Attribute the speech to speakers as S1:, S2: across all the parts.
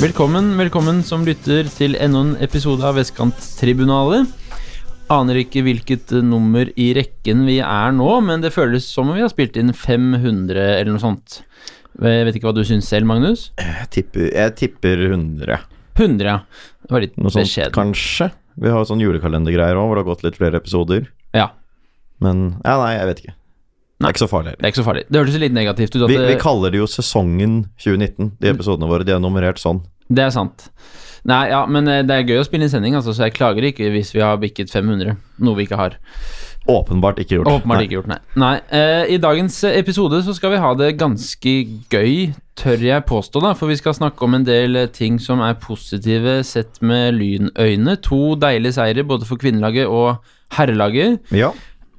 S1: Velkommen, velkommen som lytter til enda en episode av Vestkanttribunalet. Aner ikke hvilket nummer i rekken vi er nå, men det føles som om vi har spilt inn 500 eller noe sånt. Jeg vet ikke hva du syns selv, Magnus?
S2: Jeg tipper, jeg tipper 100.
S1: 100, ja. Det var litt
S2: Noe sånt
S1: beskjeden.
S2: kanskje. Vi har sånn julekalendergreier òg, hvor det har gått litt flere episoder.
S1: Ja,
S2: Men ja, nei, jeg vet ikke. Det
S1: Nei.
S2: er ikke så farlig.
S1: det er ikke så farlig. Det hørtes litt negativt ut. At
S2: Vi,
S1: det, Mm.
S2: vi kaller det jo sesongen 2019, de episodene våre. De er nummerert sånn.
S1: det er sant. Nei, ja, men eh, det er gøy å spille inn sending, altså, så jeg klager ikke hvis vi har bikket 500. Noe vi ikke har.
S2: Åpenbart ikke gjort.
S1: Åpenbart
S2: Nei.
S1: ikke gjort, nei. nei. eh, I dagens episode så skal vi ha det ganske gøy, tør jeg påstå, da. For vi skal snakke om en del eh, ting som er positive sett med lynøyne. To deilige seire både for kvinnelaget og herrelaget.
S2: Ja,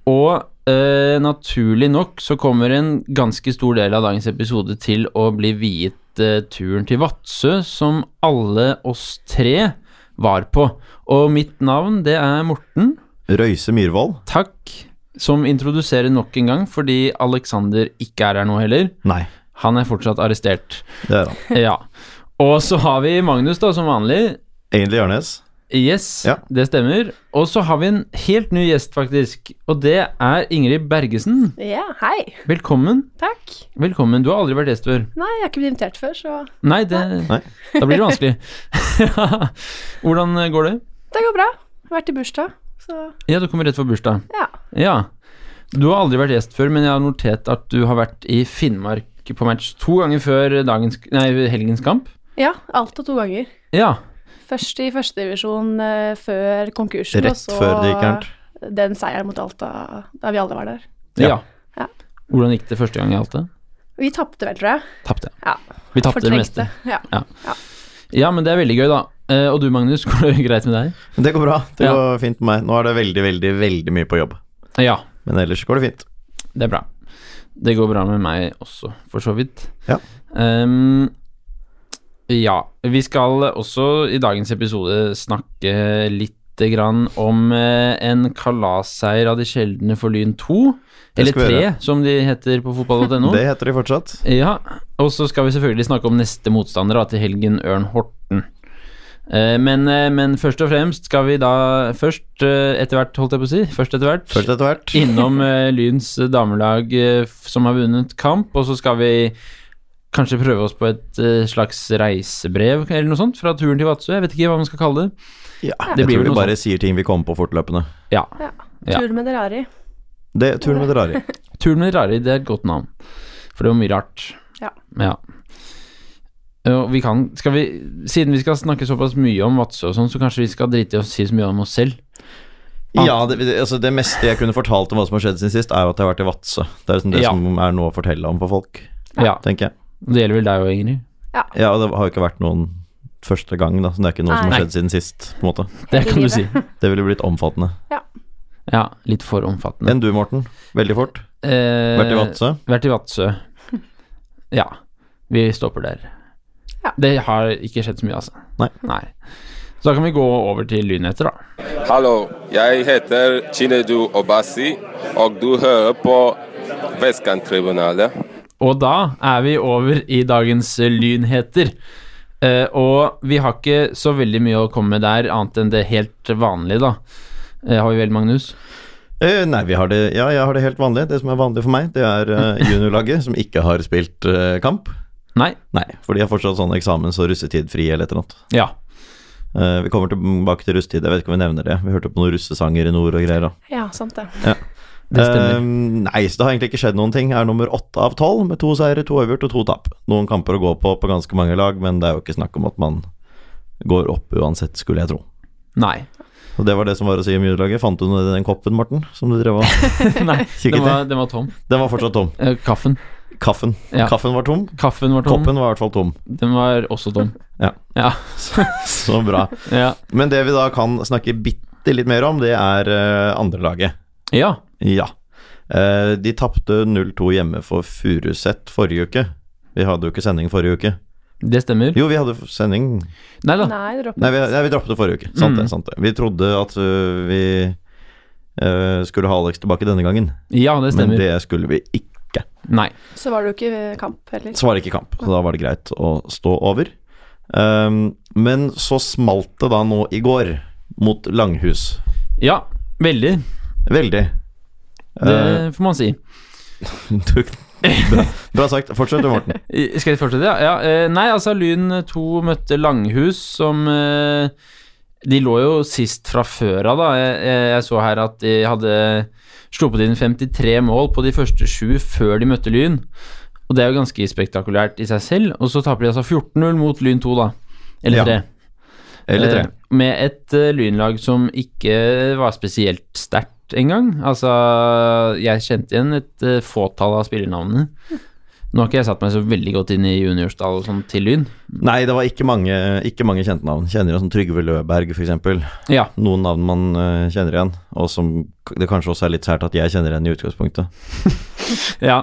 S1: Og eh, naturlig nok så kommer en ganske stor del av dagens episode til å bli viet eh, turen til Vadsø, som alle oss tre var på. Og mitt navn, det er Morten.
S2: Røise Myhrvold?
S1: Takk, som introduserer nok en gang, fordi Alexander ikke er her nå heller.
S2: Nei,
S1: Han er fortsatt arrestert.
S2: det er han.
S1: Ja. Og så har vi Magnus, da, som vanlig.
S2: Egentlig Jørnes.
S1: Yes,
S2: Ja.
S1: det stemmer. Og så har vi en helt ny gjest, faktisk. Og det er Ingrid Bergesen.
S3: Ja, hei.
S1: Velkommen.
S3: Takk.
S1: Velkommen. Du har aldri vært gjest før.
S3: Nei, jeg har ikke blitt invitert før, så
S1: Nei, det,
S2: Nei.
S1: da blir det vanskelig. Hvordan går det?
S3: det går bra. Jeg har vært i bursdag, så
S1: Ja, du kommer rett fra bursdag.
S3: ja.
S1: Ja. Du har aldri vært gjest før, men jeg har notert at du har vært i Finnmark på match to ganger før dagens, nei, helgens kamp.
S3: Ja, alt og to ganger.
S1: Ja.
S3: Først i førstedivisjon eh, før konkursen,
S2: Rett før det gikk gærent.
S3: den seieren mot Alta da vi alle var der.
S1: ja.
S3: Ja.
S1: Hvordan gikk det første gang i Alta?
S3: Vi tapte vel, tror jeg.
S1: Tapte.
S3: Ja.
S1: Vi tapte det
S3: Fortrengte.
S1: meste.
S3: Ja.
S1: Ja, men det er veldig gøy, da. Eh, Og du, Magnus, går det greit med deg?
S2: Det går bra. Det
S1: Ja.
S2: går fint med meg. Nå er det veldig, veldig, veldig mye på jobb.
S1: Ja,
S2: Men ellers går det fint.
S1: det er bra. Det går bra med meg også, for så vidt.
S2: Ja.
S1: Ehm, ja. Vi skal også i dagens episode snakke litt grann om eh, en kalasseier av de sjeldne for Lyn 2.
S2: Det
S1: Eller
S2: skal vi
S1: 3, som de heter på fotball.no.
S2: Det heter de fortsatt.
S1: Ja, og så skal vi selvfølgelig snakke om neste motstander da, til helgen Ørn Horten. Eh, Men, eh, men først og fremst skal vi da først eh, etter hvert, holdt jeg på å si, først etter hvert,
S2: Først etter hvert.
S1: innom eh, Lyns damelag eh, f- som har vunnet kamp, og så skal vi kanskje prøve oss på et eh, slags reisebrev eller noe sånt fra turen til Vadsø, jeg vet ikke hva man skal kalle det.
S2: Ja,
S1: Det blir
S2: jeg tror
S1: vel
S2: vi
S1: noe
S2: bare sier ting vi kommer på fortløpende.
S1: Ja,
S3: ja.
S1: Ja.
S3: Tur med Derari.
S2: Det, turen med Derari.
S1: Turen med Rari, det er et godt navn, for det var mye rart.
S3: Ja.
S1: Og vi kan, skal vi, siden vi skal snakke såpass mye om Vadsø og sånn, så kanskje vi skal drite i å si så mye om oss selv.
S2: Ja, det, det- altså det meste jeg kunne fortalt om hva som har skjedd siden sist, er jo at jeg har vært i Vadsø. Det er liksom det
S1: Ja.
S2: som er noe å fortelle om for folk,
S1: Ja,
S2: tenker jeg.
S1: Det gjelder vel deg òg, Ingrid.
S2: Ja, og det har jo ikke vært noen første gang, da, så det er ikke noe som
S3: Nei.
S2: har skjedd siden sist, på en måte.
S1: Det
S3: Hele
S1: kan du
S3: livet.
S1: si.
S2: Det ville blitt omfattende.
S1: Ja, litt for omfattende.
S2: Enn du, Morten? Veldig fort.
S1: Eh,
S2: Vært i Vadsø?
S1: Vært i Vadsø. Ja. Vi stopper der.
S3: Ja.
S1: Det har ikke skjedd så mye, altså.
S2: Nei.
S1: Så da kan vi gå over til lynheter, da.
S4: Hallo, jeg heter Chinedu Obasi, og du hører på Vestkanttribunalet.
S1: Og da er vi over i dagens eh, lynheter. Eh, og vi har ikke så veldig mye å komme med der, annet enn det helt vanlige, da. Eh, har vi vel, Magnus?
S2: Eh, nei, vi har det Ja, jeg har det helt vanlig. Det som er vanlig for meg, det er eh, juniorlaget som ikke har spilt eh, kamp.
S1: Nei?
S2: Nei, for de har fortsatt sånn eksamens- og russetidfri eller et eller annet.
S1: Ja.
S2: Eh, vi kommer tilbake til russetid, jeg vet ikke om vi nevner det. Vi hørte på noen russesanger i nord og greier da.
S3: Ja, sant det.
S1: Det stemmer.
S2: Eh, nei, så det har egentlig ikke skjedd noen ting. Er nummer åtte av tolv med to seire, to uavgjort og to tap. Noen kamper å gå på på ganske mange lag, men det er jo ikke snakk om at man går opp uansett, skulle jeg tro.
S1: Nei.
S2: Og det var det som var å si om juniorlaget. Fant du den koppen, Morten, som du drev og
S1: Nei,
S2: kikket
S1: den
S2: i?
S1: var, den var tom.
S2: Den var fortsatt tom.
S1: Eh, Kaffen.
S2: Kaffen.
S1: Ja.
S2: Kaffen var tom.
S1: Kaffen var tom.
S2: Koppen var i hvert fall tom.
S1: Den var også tom.
S2: Ja.
S1: Ja.
S2: Så bra.
S1: Ja.
S2: Men det vi da kan snakke bitte litt mer om, det er eh, andrelaget.
S1: ja.
S2: Ja. Eh, de tapte 0-2 hjemme for Furuset forrige uke. Vi hadde jo ikke sending forrige uke.
S1: Det stemmer.
S2: Jo, vi hadde sending
S1: Nei da.
S3: Nei, dropp
S2: Nei, vi, nei, vi droppet det forrige uke. Sant
S1: Mm.
S2: det. sant det Vi trodde at øh, vi øh, skulle ha Alex tilbake denne gangen,
S1: Ja, det
S2: men
S1: stemmer.
S2: det skulle vi ikke.
S1: Nei.
S3: Så var det jo ikke eh, kamp heller.
S2: Så var det ikke kamp, så da var det greit å stå over. Ehm, men så smalt det da nå i går mot Langhus.
S1: Ja, veldig.
S2: Veldig.
S1: Det
S2: Eh,
S1: får man si.
S2: du, bra, bra sagt. Fortsett du, Morten.
S1: I- Skal jeg fortsette? Ja. ja. eh, Nei, altså Lyn 2 møtte Langhus, som eh, De lå jo sist fra før av, da. Jeg, jeg- jeg så her at de hadde sluppet inn 53 mål på de første sju før de møtte Lyn. Og det er jo ganske spektakulært i seg selv. Og så taper de altså 14-0 mot Lyn 2, da.
S2: Ja,
S1: Eller 3.
S2: Eller tre.
S1: Eh, Med et eh, lynlag som ikke var spesielt sterkt engang. Altså, jeg kjente igjen et eh, fåtall av spillernavnene. Nå har ikke jeg satt meg så veldig godt inn i juniorstall og sånn til Lyn.
S2: Nei, det var ikke mange, ikke mange kjente navn. Kjenner jo som Trygve Løberg, f.eks.
S1: Ja,
S2: Noen navn man eh, kjenner igjen, og som k- det kanskje også er litt sært at jeg kjenner igjen i utgangspunktet.
S1: ja.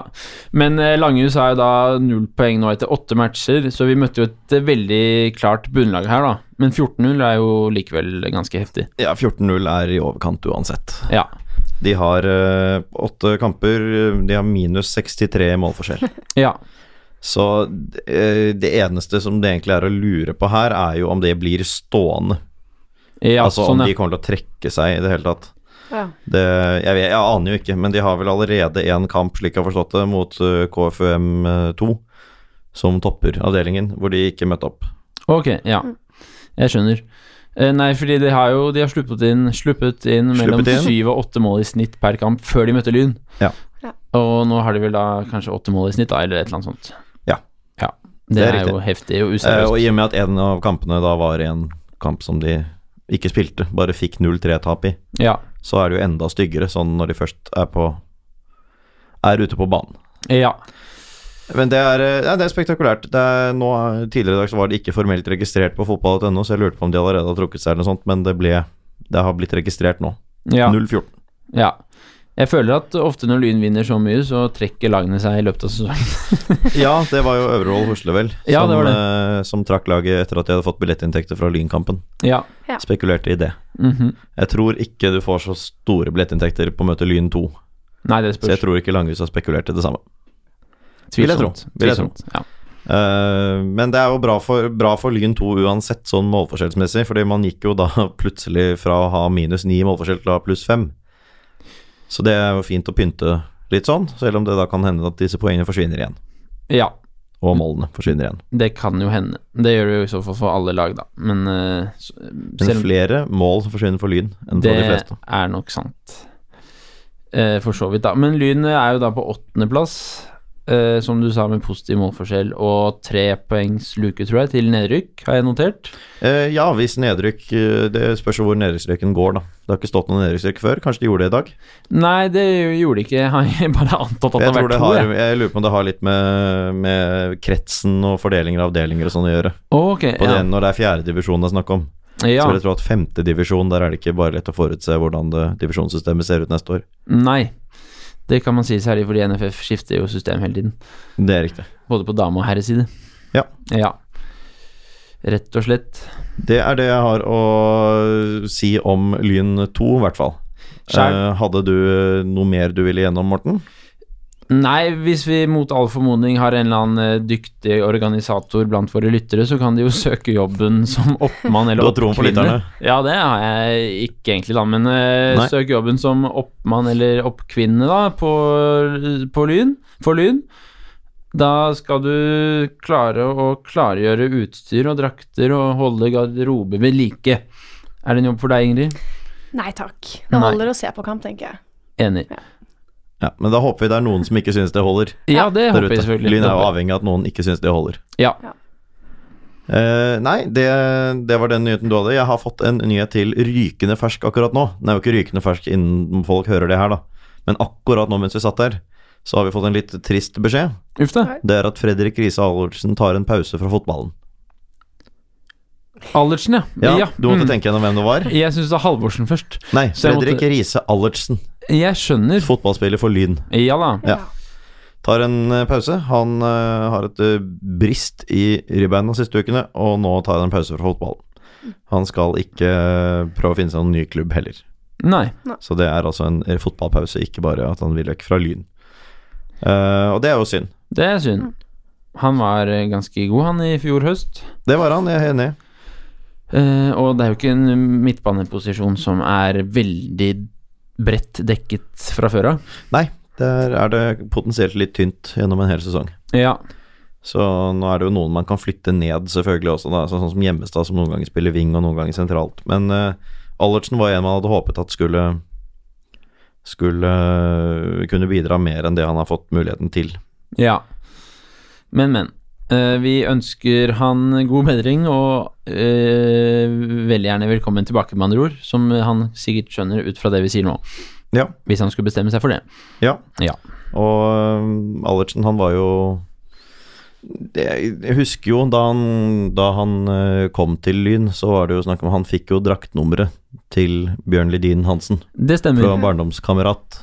S1: Men eh, Langhus har jo da null poeng nå etter åtte matcher, så vi møtte jo et eh, veldig klart bunnlag her, da. Men 14-0 er jo likevel ganske heftig.
S2: Ja, 14-0 er i overkant uansett.
S1: Ja.
S2: De har eh, åtte kamper, eh, de har minus 63 målforskjell.
S1: ja.
S2: Så eh, det eneste som det egentlig er å lure på her, er jo om det blir stående.
S1: ja
S2: altså
S1: sånn,
S2: om
S1: ja.
S2: de kommer til å trekke seg i det hele tatt.
S3: Ja.
S2: Det, jeg, vet, jeg aner jo ikke, men de har vel allerede én kamp, slik jeg har forstått det, mot eh, KFUM2, som topper avdelingen, hvor de ikke møtte opp. Eh,
S1: Ok, ja. Jeg skjønner. Eh, Nei, fordi de har jo De har sluppet inn, sluppet inn mellom
S2: Sluppet inn.
S1: syv og åtte mål i snitt per kamp før de møtte Lyn.
S2: Ja.
S3: Ja.
S1: Og nå har de vel da kanskje åtte mål i snitt, da, eller et eller annet sånt.
S2: Ja.
S1: ja. Det,
S2: Det er
S1: er,
S2: riktig.
S1: jo heftig og
S2: Eh,
S1: useriøst.
S2: og i og med at en av kampene da var en kamp som de ikke spilte, bare fikk 0-3-tap i,
S1: ja.
S2: så er det jo enda styggere sånn når de først er på er ute på banen.
S1: ja.
S2: Men det er, eh, ja, det er spektakulært. Det er, nå, eh, tidligere i dag så var det ikke formelt registrert på fotball.no, så jeg lurte på om de allerede har trukket seg eller noe sånt, men det, ble, det har blitt registrert nå.
S1: Ja.
S2: 0-14.
S1: ja. Jeg føler at ofte når Lyn vinner så mye, så trekker lagene seg i løpet av sesongen.
S2: Ja, det var jo Øvrevoll Husle, vel,
S1: Ja,
S2: som,
S1: det var det.
S2: eh, som trakk laget etter at de hadde fått billettinntekter fra Lynkampen.
S1: Ja.
S3: Ja.
S2: Spekulerte i det.
S1: Mhm.
S2: Jeg tror ikke du får så store billettinntekter på å møte Lyn 2,
S1: Nei, det
S2: så jeg
S1: spørs.
S2: tror ikke Langhus har spekulert i det samme. vil jeg tro.
S1: Tvilsomt.
S2: Vil jeg tro.
S1: Tvilsomt. Ja.
S2: Eh, men det er jo bra for, bra for Lyn 2 uansett, sånn målforskjellsmessig, fordi man gikk jo da plutselig fra å ha minus ni i målforskjell til å ha pluss fem. Så det er jo fint å pynte litt sånn, selv om det da kan hende at disse poengene forsvinner igjen.
S1: ja.
S2: Og målene forsvinner igjen.
S1: Det kan jo hende. Det gjør det jo i så fall for alle lag, da. Men eh, s-
S2: Men flere mål som forsvinner for Lyn enn for de fleste.
S1: Det er nok sant. Eh, for så vidt, da. Men Lyn er jo da på åttendeplass, eh, som du sa, med positiv målforskjell og tre poengs luke, tror jeg, til nedrykk, har jeg notert.
S2: Eh, ja, hvis nedrykk eh, Det spørs jo hvor nedrykksstreken går, da. Det har ikke stått noen nedrykksstrek før. Kanskje de gjorde det i dag?
S1: Nei, det gjorde ikke Jeg har bare antatt at det
S2: Jeg,
S1: har
S2: tror
S1: vært
S2: det
S1: to.
S2: har,
S1: jeg.
S2: jeg lurer på om det har litt med, med kretsen og fordelinger av avdelinger og sånn å gjøre.
S1: Ok,
S2: På
S1: ja.
S2: det, når det er fjerdedivisjon det er snakk om. Så
S1: ja.
S2: vil jeg tro at femtedivisjon, der er det ikke bare lett å forutse hvordan det divisjonssystemet ser ut neste år.
S1: Nei. Det kan man si, særlig fordi NFF skifter jo system hele tiden.
S2: Det er riktig.
S1: Både på dame- og herreside.
S2: Ja.
S1: ja. Rett og slett.
S2: Det er det jeg har å si om Lyn 2, i hvert fall.
S1: Skjær.
S2: Eh, hadde du noe mer du ville gjennom, Morten?
S1: Nei, hvis vi mot all formodning har en eller annen eh, dyktig organisator blant våre lyttere, så kan de jo søke jobben som oppmann
S2: Du
S1: eller
S2: har troen på lytterne?
S1: oppkvinne. Ja, det har jeg ikke egentlig, da, men eh,
S2: Nei.
S1: søk jobben som oppmann eller oppkvinne, da, på, på Lyn. For Lyn. Da skal du klare å klargjøre utstyr og drakter og holde garderobe ved like. Er det en jobb for deg, Ingrid?
S3: Nei takk.
S1: Nei.
S3: Det holder å se på kamp, tenker jeg.
S1: Enig.
S2: Ja, men da håper vi det er noen som ikke syns det holder.
S1: Ja, det
S2: der
S1: håper jeg
S2: ute.
S1: selvfølgelig.
S2: Lyn er jo avhengig av at noen ikke syns det holder.
S1: Ja.
S2: Eh, nei, det, det var den nyheten du hadde. Jeg har fått en nyhet til rykende fersk akkurat nå. Den er jo ikke rykende fersk innen folk hører det her, da. Men akkurat nå mens vi satt der, så har vi fått en litt trist beskjed.
S1: Uff da.
S2: Det er at Fredrik Riise Allertsen tar en pause fra fotballen.
S1: Allertsen, ja.
S2: Ja, Du måtte
S1: mm.
S2: tenke gjennom hvem det var.
S1: Jeg syns det er Halvorsen først.
S2: Nei,
S1: Så jeg
S2: Fredrik
S1: måtte-
S2: Riise Allertsen,
S1: Jeg skjønner.
S2: fotballspiller for Lyn.
S1: Ja da.
S2: Ja. Tar en eh, pause. Han eh, har et eh, brist i ribbeina de siste ukene, og nå tar han en pause fra fotballen. Han skal ikke eh, prøve å finne seg noen ny klubb heller.
S1: Nei.
S2: Så det er altså en fotballpause, ikke bare at han vil vekk fra Lyn. Eh, og det er jo synd.
S1: Det er synd. Han var eh, ganske god, han, i fjor høst.
S2: Det var han, jeg er enig.
S1: Eh, og det er jo ikke en midtbaneposisjon som er veldig bredt dekket fra før av.
S2: Nei, der er det potensielt litt tynt gjennom en hel sesong.
S1: Ja.
S2: Så nå er det jo noen man kan flytte ned, selvfølgelig også. Da. Så, sånn som Gjemmestad, som noen ganger spiller wing og noen ganger sentralt. Men eh, Allertsen var en man hadde håpet at skulle skulle eh, kunne bidra mer enn det han har fått muligheten til.
S1: ja. Men, men. Eh, vi ønsker han god bedring og eh, veldig gjerne velkommen tilbake, med andre ord. Som han sikkert skjønner ut fra det vi sier nå,
S2: Ja.
S1: hvis han skulle bestemme seg for det.
S2: ja.
S1: Ja.
S2: Og eh, Allertsen, han var jo det, Jeg husker jo da han, da han eh, kom til Lyn, så var det jo snakk om Han fikk jo draktnummeret til Bjørn Lidin Hansen.
S1: Det stemmer.
S2: fra en barndomskamerat.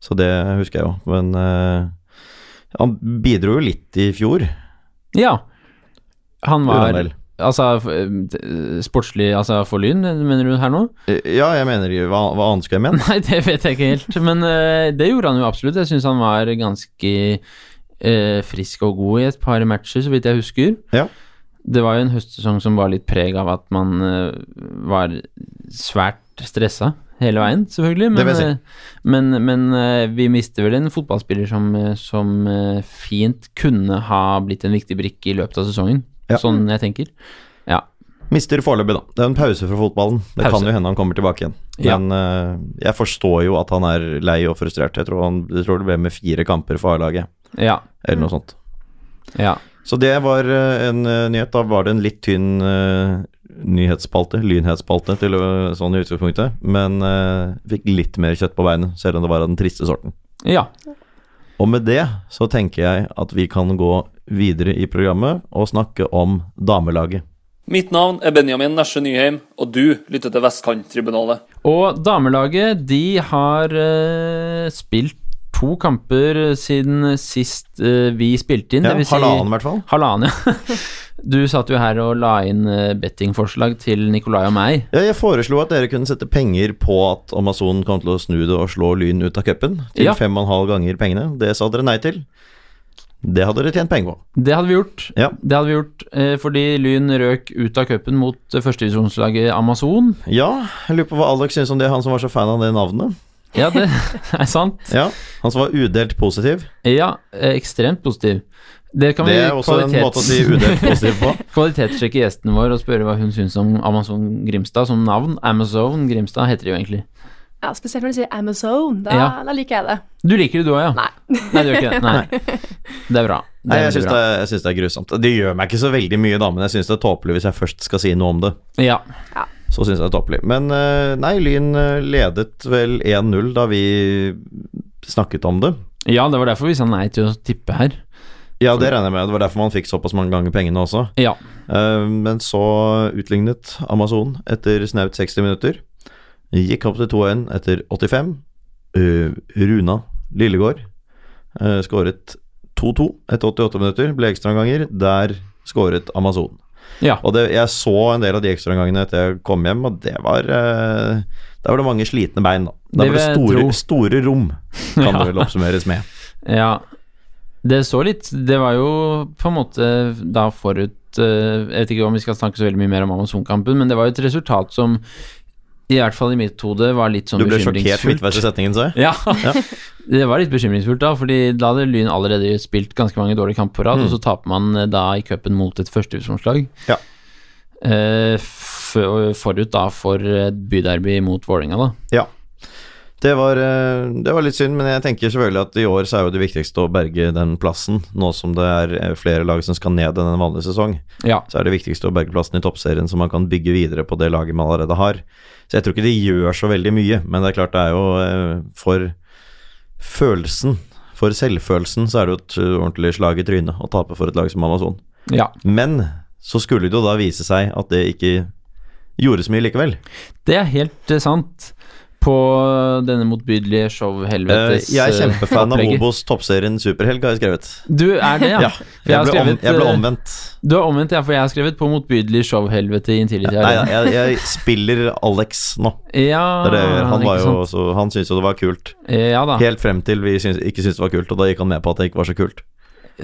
S2: Så det husker jeg jo. Men eh, han bidro jo litt i fjor.
S1: Ja. Han var
S2: Uanmeld.
S1: Altså, f- eh, sportslig altså for Lyn, mener du her nå?
S2: Eh, Ja, jeg mener Hva, hva annet skulle jeg mene?
S1: Nei, det vet jeg ikke helt, men eh, det gjorde han jo absolutt. Jeg syns han var ganske eh, frisk og god i et par matcher, så vidt jeg husker.
S2: Ja.
S1: Det var jo en høstsesong som var litt preg av at man eh, var svært stressa hele veien, selvfølgelig.
S2: Det
S1: Men,
S2: vil jeg si.
S1: eh, men, men eh, vi mister vel en fotballspiller som, eh, som eh, fint kunne ha blitt en viktig brikke i løpet av sesongen,
S2: Ja.
S1: sånn jeg tenker. Ja.
S2: Mister foreløpig, da. Det er en pause fra fotballen. Det
S1: Pause.
S2: kan jo hende han kommer tilbake igjen.
S1: Ja.
S2: Men eh, jeg forstår jo at han er lei og frustrert. Jeg tror, han, jeg tror det ble med fire kamper for A-laget,
S1: Ja.
S2: eller
S1: Mm.
S2: noe sånt.
S1: Ja.
S2: Så det var eh, en eh, nyhet. Da var det en litt tynn eh, nyhetsspalte, lynhetsspalte, til, å- sånn i utgangspunktet. Men eh, fikk litt mer kjøtt på beinet, selv om det var av den triste sorten.
S1: ja.
S2: Og med det så tenker jeg at vi kan gå videre i programmet og snakke om damelaget.
S5: Mitt navn er Benjamin Nesje Nyheim, og du lytter til Vestkanttribunalet.
S1: Og damelaget, de har eh, spilt to kamper siden sist eh, vi spilte inn.
S2: Ja,
S1: det vil si-
S2: halvannen i hvert fall.
S1: Halvannen, ja. Du satt jo her og la inn eh, bettingforslag til Nikolai og meg.
S2: Ja, jeg foreslo at dere kunne sette penger på at Amazon kom til å snu det og slå Lyn ut av cupen. Til
S1: Ja.
S2: fem og en halv ganger pengene. Det sa dere nei til. Det hadde dere tjent penger på.
S1: Det hadde vi gjort.
S2: Ja.
S1: Det hadde vi gjort eh, fordi Lyn røk ut av cupen mot eh, førstedivisjonslaget Amazon.
S2: Ja, jeg lurer på hva Alex syns om det, han som var så fan av det navnet.
S1: Ja, det er sant.
S2: Ja, Han som var udelt positiv.
S1: Ja, eh, ekstremt positiv. Det kan
S2: Det
S1: vi
S2: er også en
S1: kvalitets-
S2: måte å si udelt positiv på.
S1: Kvalitetssjekke gjesten vår og spørre hva hun syns om Amazon Grimstad som navn. Amazon Grimstad heter de jo egentlig.
S3: Ja, Spesielt når du sier Amazon. Da,
S1: Ja.
S3: da liker jeg det.
S1: Du liker det du òg, ja?
S3: Nei.
S1: Nei, du gjør ikke det. Nei. Det er bra. Det
S2: Nei,
S1: er
S2: jeg
S1: veldig
S2: syns det,
S1: bra.
S2: jeg synes det er grusomt. Det gjør meg ikke så veldig mye, da, men jeg syns det er tåpelig hvis jeg først skal si noe om det.
S1: Ja.
S2: Så syns jeg det er tåpelig. Men eh, nei, Lyn eh, ledet vel 1-0 da vi snakket om det.
S1: ja, det var derfor vi sa nei til å tippe her.
S2: Ja, det regner jeg med. Det var derfor man fikk såpass mange ganger pengene også.
S1: Ja.
S2: Eh, Men så utlignet Amazon etter snaut 60 minutter. Gikk opp til 2-1 etter 85. Eh, Runa Lillegård eh, skåret 2-2 etter 88 minutter. Ble ekstraomganger. Der skåret Amazon.
S1: Ja.
S2: Og det, jeg så en del av de ekstraomgangene etter jeg kom hjem, og det var eh, Der var det mange slitne bein, da.
S1: Det
S2: Da var det
S1: vil jeg
S2: store,
S1: tro.
S2: store rom, kan
S1: Ja.
S2: det vel oppsummeres med.
S1: ja. Det så litt Det var jo på en måte da forut eh, Jeg vet ikke om vi skal snakke så veldig mye mer om Amazon-kampen, men det var jo et resultat som i hvert fall i mitt hode var litt sånn
S2: Du ble sjokkert
S1: bekymringsfullt.
S2: midtveis i setningen, sa jeg.
S1: Ja.
S2: Ja.
S1: det var litt bekymringsfullt da, fordi da hadde Lyn allerede spilt ganske mange dårlige kamper på rad, og så taper man eh, da i cupen mot et førstevisjonslag.
S2: Mm. Ja.
S1: Eh, f- forut da for et byderby mot Vålerenga, da.
S2: Ja. Det var, eh, det var litt synd, men jeg tenker selvfølgelig at i år så er jo det viktigste å berge den plassen. Nå som det er eh, flere lag som skal ned enn en vanlig sesong,
S1: Ja.
S2: så er det viktigste å berge plassen i toppserien, så man kan bygge videre på det laget man allerede har. Så jeg tror ikke det gjør så veldig mye, men det er klart det er jo eh, for følelsen, for selvfølelsen, så er det jo et eh, ordentlig slag i trynet å tape for et lag som Amazon.
S1: ja.
S2: Men så skulle det jo da vise seg at det ikke gjorde så mye likevel.
S1: Det er helt eh, sant. På denne motbydelige
S2: Eh,
S1: show-helvetes
S2: jeg er
S1: eh,
S2: kjempefan av
S1: opplegget.
S2: Obos toppserien Superhelg, har jeg skrevet.
S1: Du er det, ja?
S2: Ja,
S1: For
S2: jeg,
S1: har
S2: ble, om,
S1: skrevet,
S2: jeg ble
S1: eh,
S2: omvendt.
S1: Du har omvendt, ja, for jeg har skrevet 'På motbydelig show-helvete i Intility
S2: Nei,
S1: Arena'.
S2: jeg, jeg spiller Alex nå.
S1: Ja,
S2: Det er det jeg gjør. Han, var
S1: Ah, ikke
S2: jo
S1: sant.
S2: også- han syntes jo det var kult.
S1: Eh, Ja da,
S2: Helt frem til vi syns- ikke syntes det var kult, og da gikk han med på at det ikke var så kult.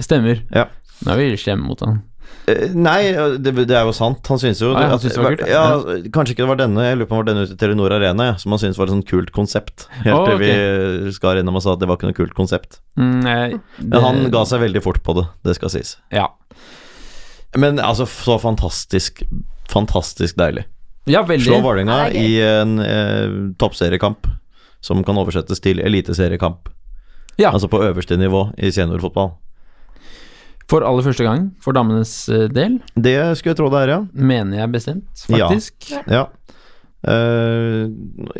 S1: stemmer.
S2: Ja.
S1: Nå er vi slemme mot han.
S2: Eh, Nei, det, det er jo sant. Han syns jo
S1: Nei, han synes det var kult,
S2: ja,
S1: Ah, ja.
S2: Kanskje ikke det var denne, jeg lurer på om det var denne ute i Telenor Arena, ja, som han syntes var et sånt kult konsept. Helt
S1: Å,
S2: til vi skar innom og sa at det var ikke noe kult konsept.
S1: Mm, nei,
S2: Men han
S1: det-
S2: ga seg veldig fort på det, det skal sies.
S1: Ja.
S2: Men altså, så fantastisk Fantastisk deilig.
S1: ja, veldig.
S2: Slå Vålerenga
S3: Ja, det er
S2: i en eh, toppseriekamp som kan oversettes til eliteseriekamp.
S1: Ja.
S2: Altså på øverste nivå i seniorfotball.
S1: For aller første gang, for damenes eh, del,
S2: Det skulle jeg tro det er, ja.
S1: mener jeg bestemt,
S2: Ja.
S1: faktisk.
S2: Ja. Eh,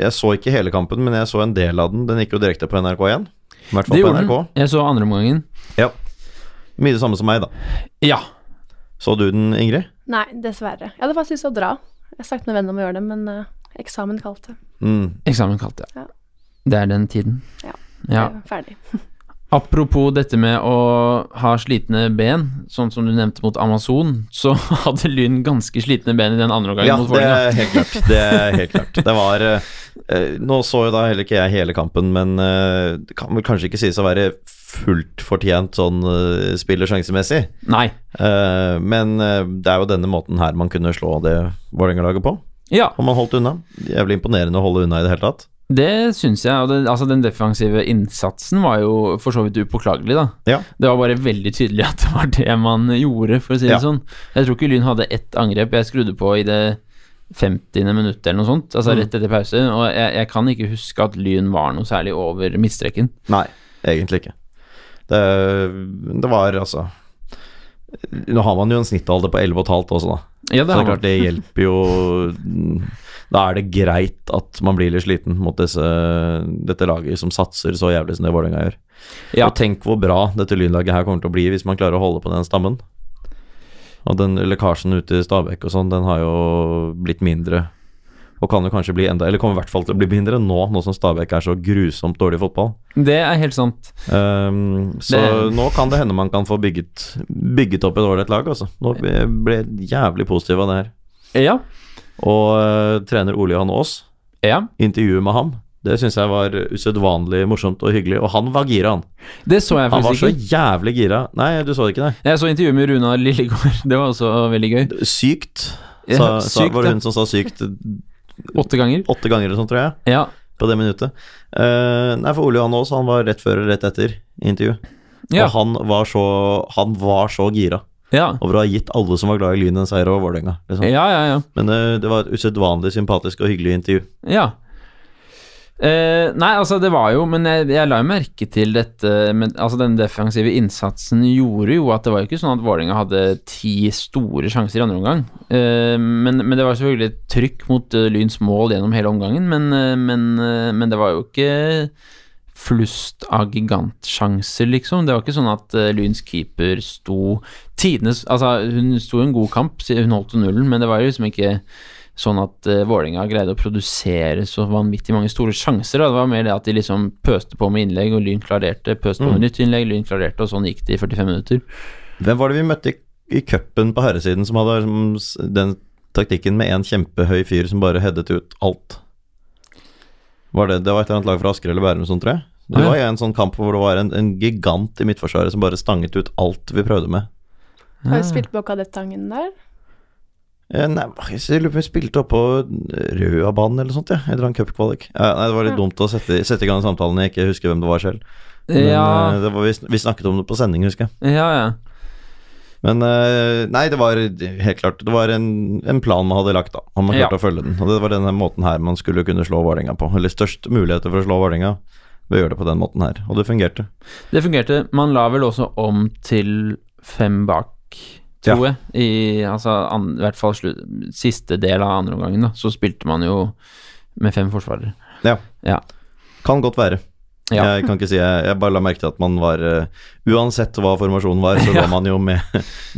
S2: jeg så ikke hele kampen, men jeg så en del av den. Den gikk jo direkte på NRK1. I hvert
S1: Det
S2: fall på
S1: gjorde
S2: NRK.
S1: den. Jeg så andre omgangen.
S2: Mye det samme som meg, da.
S1: Ja.
S2: Så du den, Ingrid?
S3: Nei, dessverre. Jeg hadde faktisk lyst til å dra. Jeg har snakket med vennen om å gjøre det, men eh, eksamen kalte.
S2: Mm.
S1: Eksamen kalte jeg.
S3: Ja.
S1: Det er den tiden.
S3: Ja.
S1: ja.
S3: Jeg er Ferdig.
S1: Apropos dette med å ha slitne ben, sånn som du nevnte mot Amazon, så hadde Lyn ganske slitne ben i den andre omgangen
S2: Ja,
S1: mot
S2: det
S1: Vålerenga.
S2: er helt klart. Det er helt klart. Det var eh, eh, Nå så jo da heller ikke jeg hele kampen, men eh, det kan vel kanskje ikke sies å være fullt fortjent sånn eh, spiller sjansemessig.
S1: Nei.
S2: Eh, men eh, det er jo denne måten her man kunne slå det Vålerenga-laget på.
S1: Ja,
S2: Og man holdt unna. Jævlig imponerende å holde unna i det hele tatt.
S1: det syns jeg. Og det, altså, den defensive innsatsen var jo for så vidt upåklagelig, da.
S2: Ja.
S1: Det var bare veldig tydelig at det var det man gjorde, for å si det
S2: Ja.
S1: sånn. Jeg tror ikke Lyn hadde ett angrep. Jeg skrudde på i det 50. minuttet eller noe sånt, altså
S2: Mm.
S1: rett etter pause. Og jeg, jeg kan ikke huske at Lyn var noe særlig over midtstreken.
S2: Nei, egentlig ikke. Det, det var altså Nå har man jo en snittalder på 11,5 også, da.
S1: Ja,
S2: Så det er klart det hjelper jo mm, Da er det greit at man blir litt sliten mot disse, dette laget som satser så jævlig som det Vålerenga gjør.
S1: Ja.
S2: Og tenk hvor bra dette lynlaget her kommer til å bli hvis man klarer å holde på den stammen. Og den lekkasjen ut til Stabæk og sånn, den har jo blitt mindre. Og kan jo kanskje bli enda Eller kommer i hvert fall til å bli mindre nå, nå som Stabæk er så grusomt dårlig i fotball.
S1: Det er helt sant.
S2: Ehm, så
S1: Det-
S2: nå kan det hende man kan få bygget, bygget opp et ålreit lag, altså. Nå ble ble jeg jævlig positiv av det her.
S1: Ja.
S2: Og eh, trener Ole Johan Aas,
S1: ja.
S2: intervjuet med ham, det syns jeg var usedvanlig morsomt og hyggelig. Og han var gira, han.
S1: Det så jeg
S2: Han var
S1: faktisk
S2: så
S1: ikke.
S2: jævlig gira. Nei, du så det ikke, nei.
S1: Jeg så intervjuet med Runa Lillegård. Det var også veldig gøy.
S2: Sykt, sa,
S1: Ja,
S2: sa,
S1: sykt,
S2: var
S1: ja.
S2: det hun som sa sykt
S1: Åtte ganger.
S2: åtte ganger eller sånn, tror jeg.
S1: Ja.
S2: På det minuttet. Eh, nei, for Ole Johan Aas, han var rett før og rett etter intervju.
S1: Ja.
S2: Og han var så Han var så gira
S1: Ja.
S2: over å ha gitt alle som var glad i Lyn, en seier over Vålerenga. Liksom.
S1: Ja, ja, ja.
S2: Men eh, det var et usedvanlig sympatisk og hyggelig intervju.
S1: Ja. Eh, nei, altså det var jo Men jeg, jeg la jo merke til dette men, Altså Den defensive innsatsen gjorde jo at det var jo ikke sånn at Vålerenga hadde ti store sjanser i andre omgang. Eh, men, men det var selvfølgelig et trykk mot eh, Lyns mål gjennom hele omgangen. Men, eh, men, eh, men det var jo ikke flust av gigantsjanser, liksom. Det var ikke sånn at eh, Lyns keeper sto tidenes Altså, hun sto en god kamp, si- hun holdt jo nullen, men det var jo liksom ikke sånn at uh, Vålerenga greide å produsere så vanvittig mange store sjanser. Da. Det var mer det at de liksom pøste på med innlegg, og Lyn klarerte. Pøste på med nytt innlegg, Lyn klarerte, og sånn gikk det i 45 minutter.
S2: Hvem var det vi møtte i, i cupen på herresiden som hadde liksom s- den taktikken med en kjempehøy fyr som bare headet ut alt? Var det, det var et eller annet lag fra Asker eller Bærum sånn, tror jeg. Det
S1: Ah, ja.
S2: var en sånn kamp hvor det var en, en gigant i midtforsvaret som bare stanget ut alt vi prøvde med.
S1: Ah.
S3: Har vi spilt på Kadettangen der?
S2: Eh, Nei, jeg lurer på om vi spilte oppå Røabanen eller sånt, ja. Et eller annet cupkvalik. Eh, Nei, det var litt dumt å sette, sette i gang samtalen, jeg ikke husker hvem det var selv. Men eh,
S1: Ja,
S2: det var, vi, sn- vi snakket om det på sending, husker jeg.
S1: ja, ja.
S2: Men eh, nei, det var helt klart Det var en, en plan man hadde lagt, da. Og man
S1: Ja.
S2: klarte å følge den. Og det var denne måten her man skulle kunne slå Vålerenga på. Eller størst muligheter for å slå Vålerenga ved å gjøre det på den måten her. Og det fungerte.
S1: Det fungerte. Man la vel også om til fem bak, tror jeg. I altså, an, i hvert fall slutt, siste del av andre omgangen, da. Så spilte man jo med fem forsvarere.
S2: Ja.
S1: Ja.
S2: Kan godt være.
S1: Ja.
S2: Jeg kan ikke si Jeg, jeg bare la merke til at man var eh, Uansett hva formasjonen var, så
S1: Ja.
S2: var man jo med,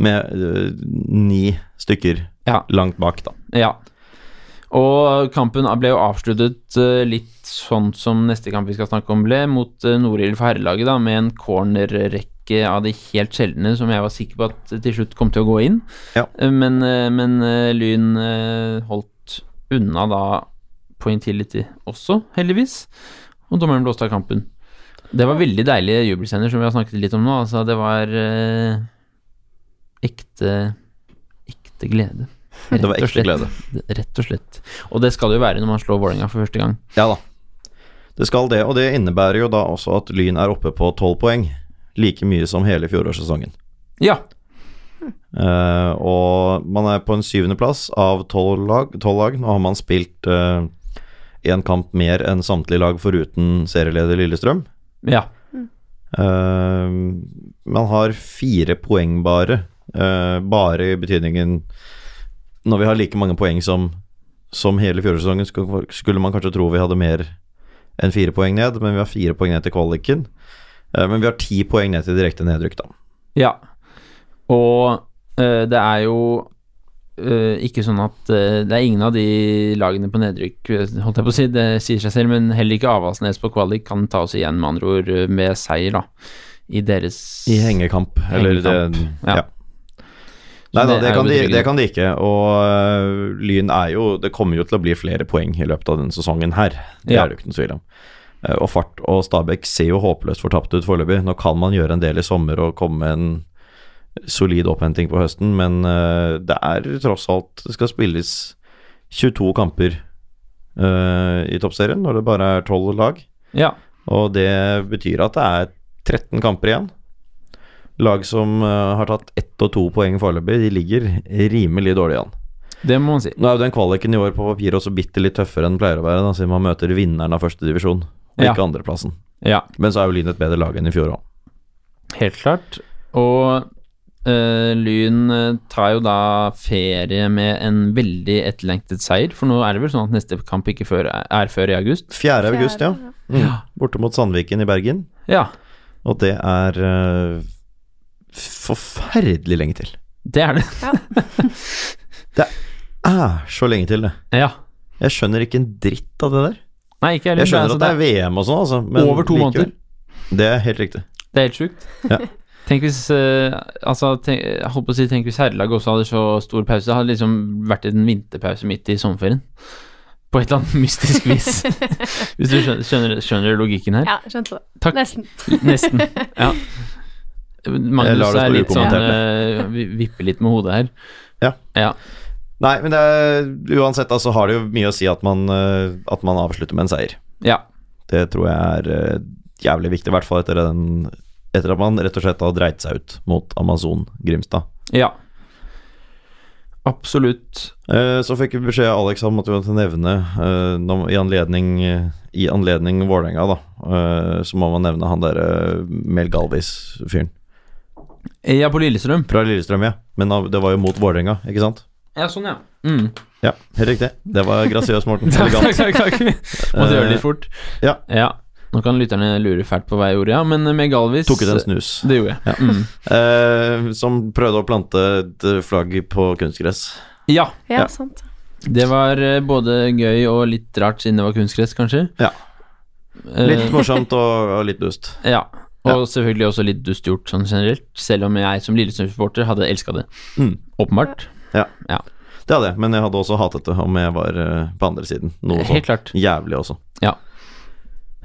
S2: med eh, ni stykker
S1: Ja.
S2: langt bak, da.
S1: Ja. Og kampen ble jo avsluttet eh, litt sånn som neste kamp vi skal snakke om ble, mot eh, Norild for herrelaget, da, med en cornerrekke av de helt sjeldne som jeg var sikker på at til slutt kom til å gå inn.
S2: Ja.
S1: Eh, Men, eh, men eh, Lyn eh, holdt unna da på Intility også, heldigvis. Og dommeren blåste av kampen. Det var veldig deilige jubelscener, som vi har snakket litt om nå. Altså, det var eh, ekte Ekte glede.
S2: Det var ekte glede.
S1: Rett og slett. Og det skal det jo være når man slår Vålerenga for første gang.
S2: Ja da. Det skal det, og det innebærer jo da også at Lyn er oppe på tolv poeng. Like mye som hele fjorårssesongen.
S1: Ja,
S2: Eh, og man er på en syvendeplass av tolv lag, 12 lag. Nå har man spilt én kamp mer enn samtlige lag foruten serieleder Lillestrøm.
S1: ja.
S2: Eh, man har fire poeng bare, eh, bare i betydningen Når vi har like mange poeng som, som hele fjorårssesongen, sku- skulle man kanskje tro vi hadde mer enn fire poeng ned, men vi har fire poeng ned til kvaliken. Eh, men vi har ti poeng ned til direkte nedrykk, da.
S1: Ja. Og eh, det er jo eh, ikke sånn at eh, det er ingen av de lagene på nedrykk, eh, holdt jeg på å si, det sier seg selv, men heller ikke Avaldsnes på kvalik kan ta oss igjen, med andre ord, eh, med seier, da. I deres
S2: I hengekamp, eller
S1: Hengekamp,
S2: det
S1: ja.
S2: Ja. Nei da,
S1: det
S2: det
S1: er
S2: kan,
S1: jo
S2: de,
S1: betryggende.
S2: det kan de ikke. Og øh, Lyn er jo Det kommer jo til å bli flere poeng i løpet av denne sesongen her. Det
S1: Ja.
S2: er det jo ikke noe tvil om. Eh, Og Fart og Stabæk ser jo håpløst fortapt ut foreløpig. Nå kan man gjøre en del i sommer og komme med en solid opphenting på høsten, men eh, det er tross alt Det skal spilles 22 kamper eh, i toppserien når det bare er 12 lag.
S1: Ja.
S2: Og det betyr at det er 13 kamper igjen. Lag som eh, har tatt ett og to poeng foreløpig, de ligger rimelig dårlig an.
S1: Det må man si.
S2: Nå er jo den kvaliken i år på papiret også bitte litt tøffere enn den pleier å være, da, siden man møter vinneren av første divisjon, og
S1: Ja.
S2: ikke andreplassen.
S1: Ja.
S2: Men så er jo Lyn et bedre lag enn i fjor òg.
S1: Helt klart. Og eh, Lyn eh, tar jo da ferie med en veldig etterlengtet seier, for nå er det vel sånn at neste kamp ikke før, er før i august?
S2: 4. august, ja.
S3: Fjerde,
S2: Mm. Borte mot Sandviken i Bergen.
S1: Ja.
S2: Og det er eh, forferdelig lenge til.
S1: Det er det.
S2: Ah, så lenge til, det.
S1: Ja.
S2: Jeg skjønner ikke en dritt av det der.
S1: Nei, ikke heller.
S2: Jeg skjønner
S1: altså,
S2: at det er VM og sånn, altså. men
S1: Over to
S2: likevel.
S1: måneder.
S2: Det er helt riktig.
S1: Det er helt sjukt.
S2: Ja.
S1: Tenk hvis eh, altså, tenk, jeg holdt på å si, tenk hvis herrelaget også hadde så stor pause. Det hadde liksom vært en vinterpause midt i sommerferien. På et eller annet mystisk vis. hvis du skjønner, skjønner, skjønner logikken her.
S3: Ja, skjønte det.
S1: Takk.
S3: Nesten.
S1: Nesten. Ja.
S2: Jeg lar
S1: Magnus
S2: det
S1: er
S2: stå
S1: litt sånn
S2: ukommentert,
S1: eh, vi- Vipper litt med hodet her.
S2: Ja.
S1: ja.
S2: Nei, men det er, uansett altså, har det jo mye å si at man, eh, at man avslutter med en seier.
S1: Ja.
S2: Det tror jeg er eh, jævlig viktig, i hvert fall etter, den, etter at man rett og slett har dreit seg ut mot Amazon Grimstad.
S1: ja. Absolutt.
S2: Eh, Så fikk vi beskjed av Alex om at vi måtte nevne eh, nå- i anledning, i anledning Vålerenga, da. eh, Så må man nevne han eh, derre Mel Galvis-fyren.
S1: Ja, på Lillestrøm.
S2: Fra Lillestrøm, ja. Men av- det var jo mot Vålerenga, ikke sant?
S1: Ja, sånn, ja. Mm.
S2: Ja, helt riktig. Det var grasiøst, Morten.
S1: Takk,
S2: Elegant. Eh,
S1: takk, takk, takk. Måtte gjøre det litt fort.
S2: ja.
S1: Nå kan lytterne lure fælt på hva jeg gjorde, ja, men eh, med Galvis
S2: Tok ut en snus.
S1: Det gjorde jeg. Ja. Mm.
S2: Eh, som prøvde å plante et flagg på kunstgress.
S1: ja.
S3: Ja,
S2: Ja.
S3: sant.
S1: Det var eh, både gøy og litt rart, siden det var kunstgress, kanskje.
S2: Ja.
S1: Eh,
S2: Litt morsomt og, og litt dust.
S1: ja. Og selvfølgelig også litt dust gjort sånn generelt, selv om jeg som Lillestrøm-supporter hadde elska det.
S2: Mm.
S1: Åpenbart.
S2: Det hadde jeg, men jeg hadde også hatet det om jeg var eh, på andre siden. Noe
S1: Helt
S2: sånt.
S1: klart.
S2: Jævlig også.
S1: Ja.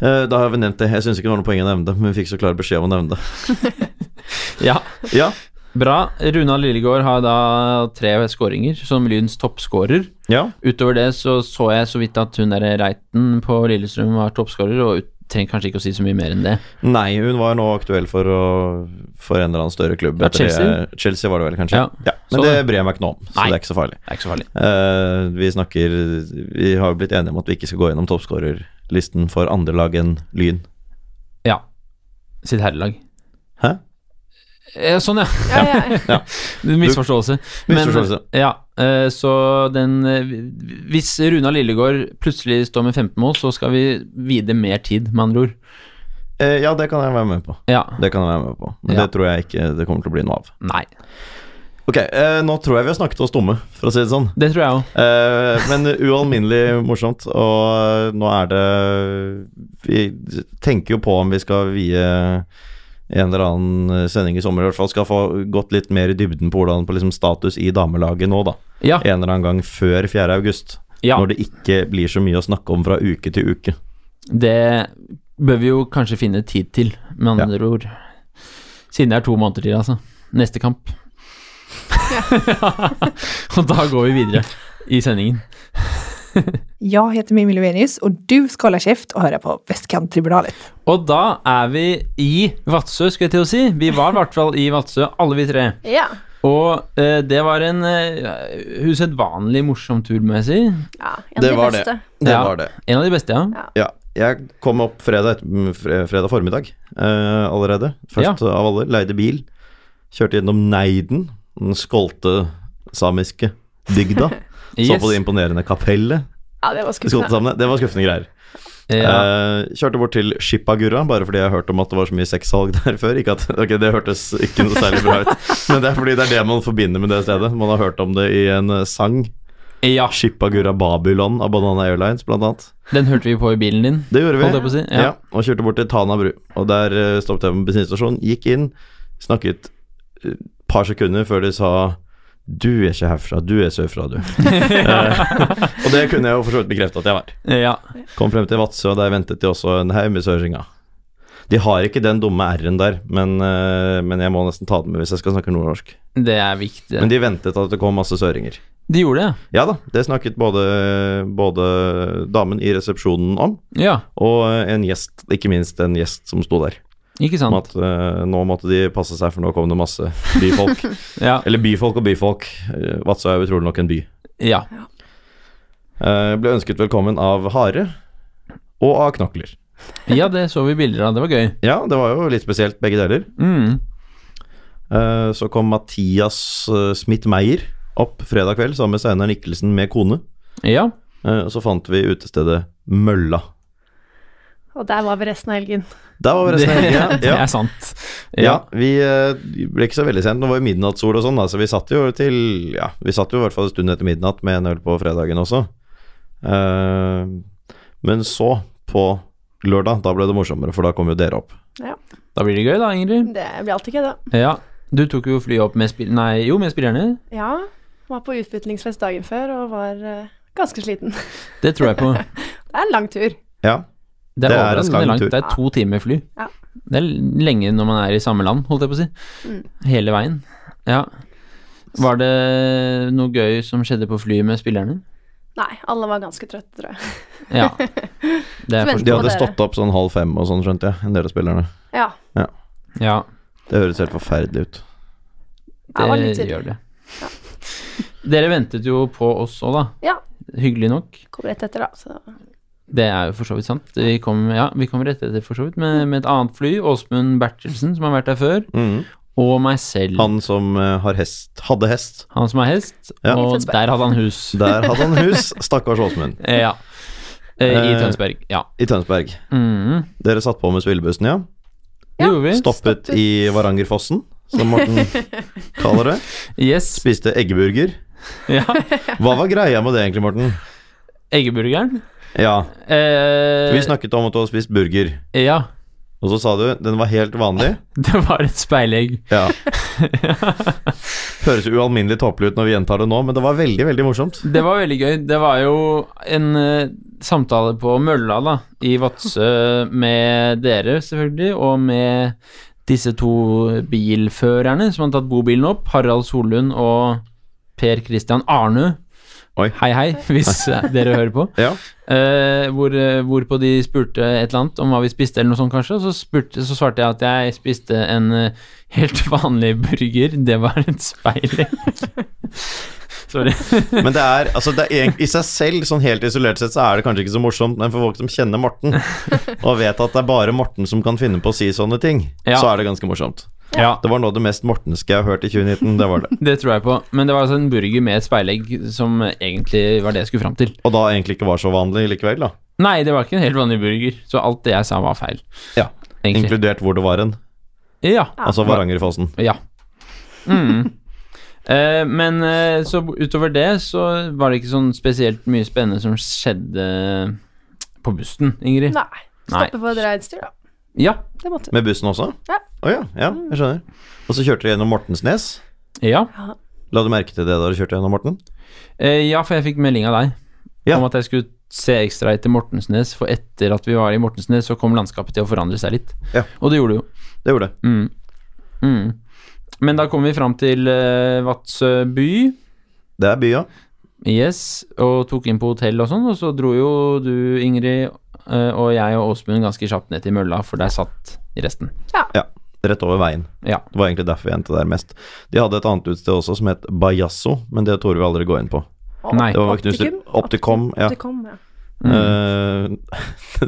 S2: Eh, da har vi nevnt det. Jeg syns ikke det var noe poeng å nevne det, men vi fikk så klar beskjed om å nevne det.
S1: Ja.
S2: Ja,
S1: Bra. Runa Lillegård har da tre skåringer som Lyns toppskårer.
S2: ja.
S1: Utover det så så jeg så vidt at hun der Reiten på Lillestrøm var toppskårer, og ut- trenger kanskje ikke å si så mye mer enn det.
S2: Nei, hun var nå aktuell for, å, for en eller annen større klubb.
S1: Ja,
S2: etter det-
S1: Chelsea.
S2: Chelsea var det vel, kanskje.
S1: Ja. Så
S2: Men det
S1: det.
S2: bryr jeg meg ikke noe om, så
S1: Nei.
S2: det er ikke så farlig.
S1: Det er ikke så farlig.
S2: Eh, vi snakker Vi har jo blitt enige om at vi ikke skal gå gjennom toppskårerlisten for andre lag enn Lyn.
S1: Ja. Sitt herrelag.
S2: Hæ?
S1: Eh, sånn, ja.
S3: Ja, ja, ja.
S1: Misforståelse. Men,
S2: Misforståelse.
S1: ja, eh, så den eh, Hvis Runa Lillegård plutselig står med 15 mål, så skal vi vie det mer tid, med andre ord.
S2: Eh, ja, det kan jeg være med på.
S1: Ja.
S2: Det kan jeg være med på Men
S1: Ja.
S2: det tror jeg ikke det kommer til å bli noe av.
S1: Nei.
S2: Ok, eh, Nå tror jeg vi har snakket oss dumme, for å si det sånn.
S1: Det tror jeg òg.
S2: Eh, men ualminnelig morsomt, og eh, nå er det Vi tenker jo på om vi skal vie en eller annen sending i sommer, i hvert fall skal få gått litt mer i dybden på hvordan på liksom status i damelaget nå, da.
S1: Ja.
S2: En eller annen gang før 4. august.
S1: ja.
S2: Når det ikke blir så mye å snakke om fra uke til uke.
S1: Det bør vi jo kanskje finne tid til, med andre ord. Siden det er to måneder til, altså. Neste kamp. Og da går vi videre i sendingen.
S6: Jag heter Mimmi Lovenius och du ska hålla käft och höra på Västkanttribunalet.
S1: Og da er vi i Vadsø, skulle jeg til å si. Vi var i hvert fall i Vadsø, alle vi tre.
S3: Ja.
S1: Og eh, det var en eh, usedvanlig morsom tur, må jeg si.
S3: ja en av
S2: Det
S3: de
S2: var
S3: beste.
S2: det. Det
S1: Ja.
S2: var det.
S1: En av de beste, ja.
S2: Ja. Jeg kom opp fredag, et- mm, fre- fredag formiddag eh, allerede. Først av alle. Leide bil. Kjørte gjennom Neiden, den skolte samiske bygda. Så på det
S1: Yes.
S2: imponerende kapellet.
S3: Ja, det var
S2: de skolte
S3: skuffende.
S2: samene. Det var skuffende greier.
S1: Ja.
S2: Eh, kjørte bort til Shippagurra, bare fordi jeg hørte om at det var så mye sexsalg der før. Ikke at, ok, Det hørtes ikke noe særlig bra ut, men det er fordi det er det man forbinder med det stedet. Man har hørt om det i en eh, sang.
S1: ja.
S2: Shippagurra Babylon av Banana Airlines, blant annet.
S1: Den hørte vi på i bilen din.
S2: Det gjorde vi.
S1: Holdt jeg på å si, ja.
S2: ja. Og kjørte bort til Tana bru. Og der eh, stoppet jeg på en bensinstasjon, gikk inn, snakket et par sekunder før de sa du er ikke herfra, du er sørfra, du. Eh, og det kunne jeg jo for så vidt bekrefte at jeg var.
S1: Ja.
S2: Kom frem til Vadsø, og der ventet de også en haug med søringer. De har ikke den dumme r-en der, men, eh, men jeg må nesten ta den med hvis jeg skal snakke nordnorsk.
S1: Det er viktig.
S2: Men de ventet at det kom masse søringer.
S1: de gjorde det.
S2: Ja da, det snakket både, både damen i resepsjonen om,
S1: Ja,
S2: og en gjest, ikke minst en gjest som sto der.
S1: ikke
S2: Om
S1: sant.
S2: at eh, nå måtte de passe seg, for nå kom det masse byfolk.
S1: Ja.
S2: Eller byfolk og byfolk. Eh, Vadsø er jo utrolig nok en by.
S1: ja.
S2: Eh, ble ønsket velkommen av hare og av knokler.
S1: ja, det så vi bilder av. Det var gøy.
S2: Ja, det var jo litt spesielt, begge deler.
S1: Mm.
S2: Eh, så kom Mathias eh, Smith-Meyer opp fredag kveld sammen med Steinar Nikkelsen med kone.
S1: Ja.
S2: Eh, og så fant vi utestedet Mølla.
S3: Og der var vi resten av helgen.
S2: Der var vi
S1: Det,
S2: resten av helgen.
S1: det
S2: Ja.
S1: er sant.
S2: Ja, vi eh, ble ikke så veldig sent. Nå var jo midnattssol og sånn, da, så vi satt jo til Ja, vi satt jo i hvert fall en stund etter midnatt med en øl på fredagen også. Eh, men så, på lørdag, da ble det morsommere, for da kom jo dere opp.
S1: Da blir det gøy, da, Ingrid.
S3: Det blir alltid gøy, da.
S1: Ja. Du tok jo flyet opp med spill... Nei, jo, med spillerne.
S3: Ja. Var på utbytlingsfest dagen før og var eh, ganske sliten.
S1: Det tror jeg på.
S3: Det er en lang tur.
S2: Ja,
S1: Det er,
S2: Det er en
S1: overraskende
S2: lang
S1: langt.
S2: tur.
S1: Det er to timer fly.
S3: Ja.
S1: Det er lenge når man er i samme land, holdt jeg på å si.
S3: Mm.
S1: Hele veien. Ja. Var det noe gøy som skjedde på flyet med spillerne?
S3: Nei, alle var ganske trøtte, tror jeg.
S1: Ja. Det er
S3: Vent.
S1: forstått.
S2: De hadde
S3: dere.
S2: stått opp sånn halv fem og sånn, skjønte jeg, en del av spillerne.
S3: Ja.
S1: Ja,
S2: Det høres helt forferdelig ut.
S3: Jeg var litt
S1: det
S3: tidlig.
S1: gjør det. Dere ventet jo på oss òg, da.
S3: Ja.
S1: Hyggelig nok.
S3: Kom rett etter, da. Så
S1: Det er jo for så vidt sant. Vi kom, ja, vi kom rett etter for så vidt med, med et annet fly. Åsmund Bertelsen, som har vært der før,
S2: Mhm.
S1: og meg selv. Han,
S2: Han som eh, har hest, hadde hest.
S1: som er hest.
S2: Ja.
S1: Og
S3: I Tønsberg.
S1: der hadde han hus.
S2: Der hadde han hus, stakkars Åsmund,
S1: Eh, Ja. Eh, I
S2: Eh,
S1: Tønsberg, ja.
S2: i Tønsberg.
S1: Mm.
S2: Dere satt på med spillebussen, ja.
S1: Det gjorde vi.
S2: Stoppet
S3: stoppet.
S2: i Varangerfossen, som Morten kaller det.
S1: Yes.
S2: Spiste eggeburger.
S1: Ja.
S2: Hva var greia med det egentlig, Morten?
S1: Eggeburgeren.
S2: Ja,
S1: Eh,
S2: vi snakket om at du hadde spist burger,
S1: Ja.
S2: og så sa du den var helt vanlig.
S1: Det var et speilegg.
S2: Ja. Høres ualminnelig tåpelig ut når vi gjentar det nå, men det var veldig, veldig morsomt.
S1: Det var veldig gøy. Det var jo en eh, samtale på mølla da, i Vadsø med dere, selvfølgelig, og med disse to bilførerne som har tatt bobilen opp, Harald Solund og Per Christian Arnø.
S2: Oi.
S1: Hei, hei, hvis eh, dere hører på.
S2: Ja.
S1: Eh, hvor, eh, hvorpå de spurte et eller annet om hva vi spiste, eller noe sånt kanskje. Og så, spurte, så svarte jeg at jeg spiste en eh, helt vanlig burger. Det var et speilegg. Sorry.
S2: Men det er, altså det er egentlig, i seg selv, sånn helt isolert sett, så er det kanskje ikke så morsomt, men for folk som kjenner Morten, og vet at det er bare Morten som kan finne på å si sånne ting,
S1: Ja.
S2: så er det ganske morsomt.
S1: Ja.
S2: Det var noe av det mest mortenske jeg har hørt i 2019, det var det.
S1: Det tror jeg på. Men det var altså en burger med et speilegg som egentlig var det jeg skulle fram til.
S2: Og da egentlig ikke var så vanlig likevel, da.
S1: Nei, det var ikke en helt vanlig burger, så alt det jeg sa var feil.
S2: Ja.
S1: Egentlig.
S2: Inkludert hvor det var en,
S1: Ja.
S2: altså Varangerfossen.
S1: ja. Mm. Eh, men eh, så utover det så var det ikke sånn spesielt mye spennende som skjedde på bussen, Ingrid.
S3: nei.
S1: Nei.
S3: Stoppe for reinsdyr, da.
S1: Ja.
S3: Det måtte vi.
S2: Med bussen også?
S3: Ja.
S2: Å ja, ja, jeg skjønner. Og så kjørte dere gjennom Mortensnes.
S1: Ja.
S2: La du merke til det da du kjørte gjennom Morten?
S1: Eh, ja, for jeg fikk melding av deg
S2: Ja.
S1: om at jeg skulle se ekstra etter Mortensnes, for etter at vi var i Mortensnes, så kom landskapet til å forandre seg litt.
S2: Ja.
S1: Og det gjorde det jo.
S2: Det gjorde det.
S1: Mm. Mm. Men da kommer vi fram til eh, Vadsø by.
S2: Det er bya.
S1: Yes, og tok inn på hotell og sånn, og så dro jo du, Ingrid, eh, og jeg og Åsmund ganske kjapt ned til mølla, for der satt resten.
S2: Ja, rett over veien.
S1: Ja.
S2: Det var egentlig derfor vi endte der mest. De hadde et annet utsted også som het Bajasso, men det torde vi aldri gå inn på.
S1: Nei.
S2: Det var Knutsen- Optikum, ja.
S3: Optikum, ja.
S2: Eh,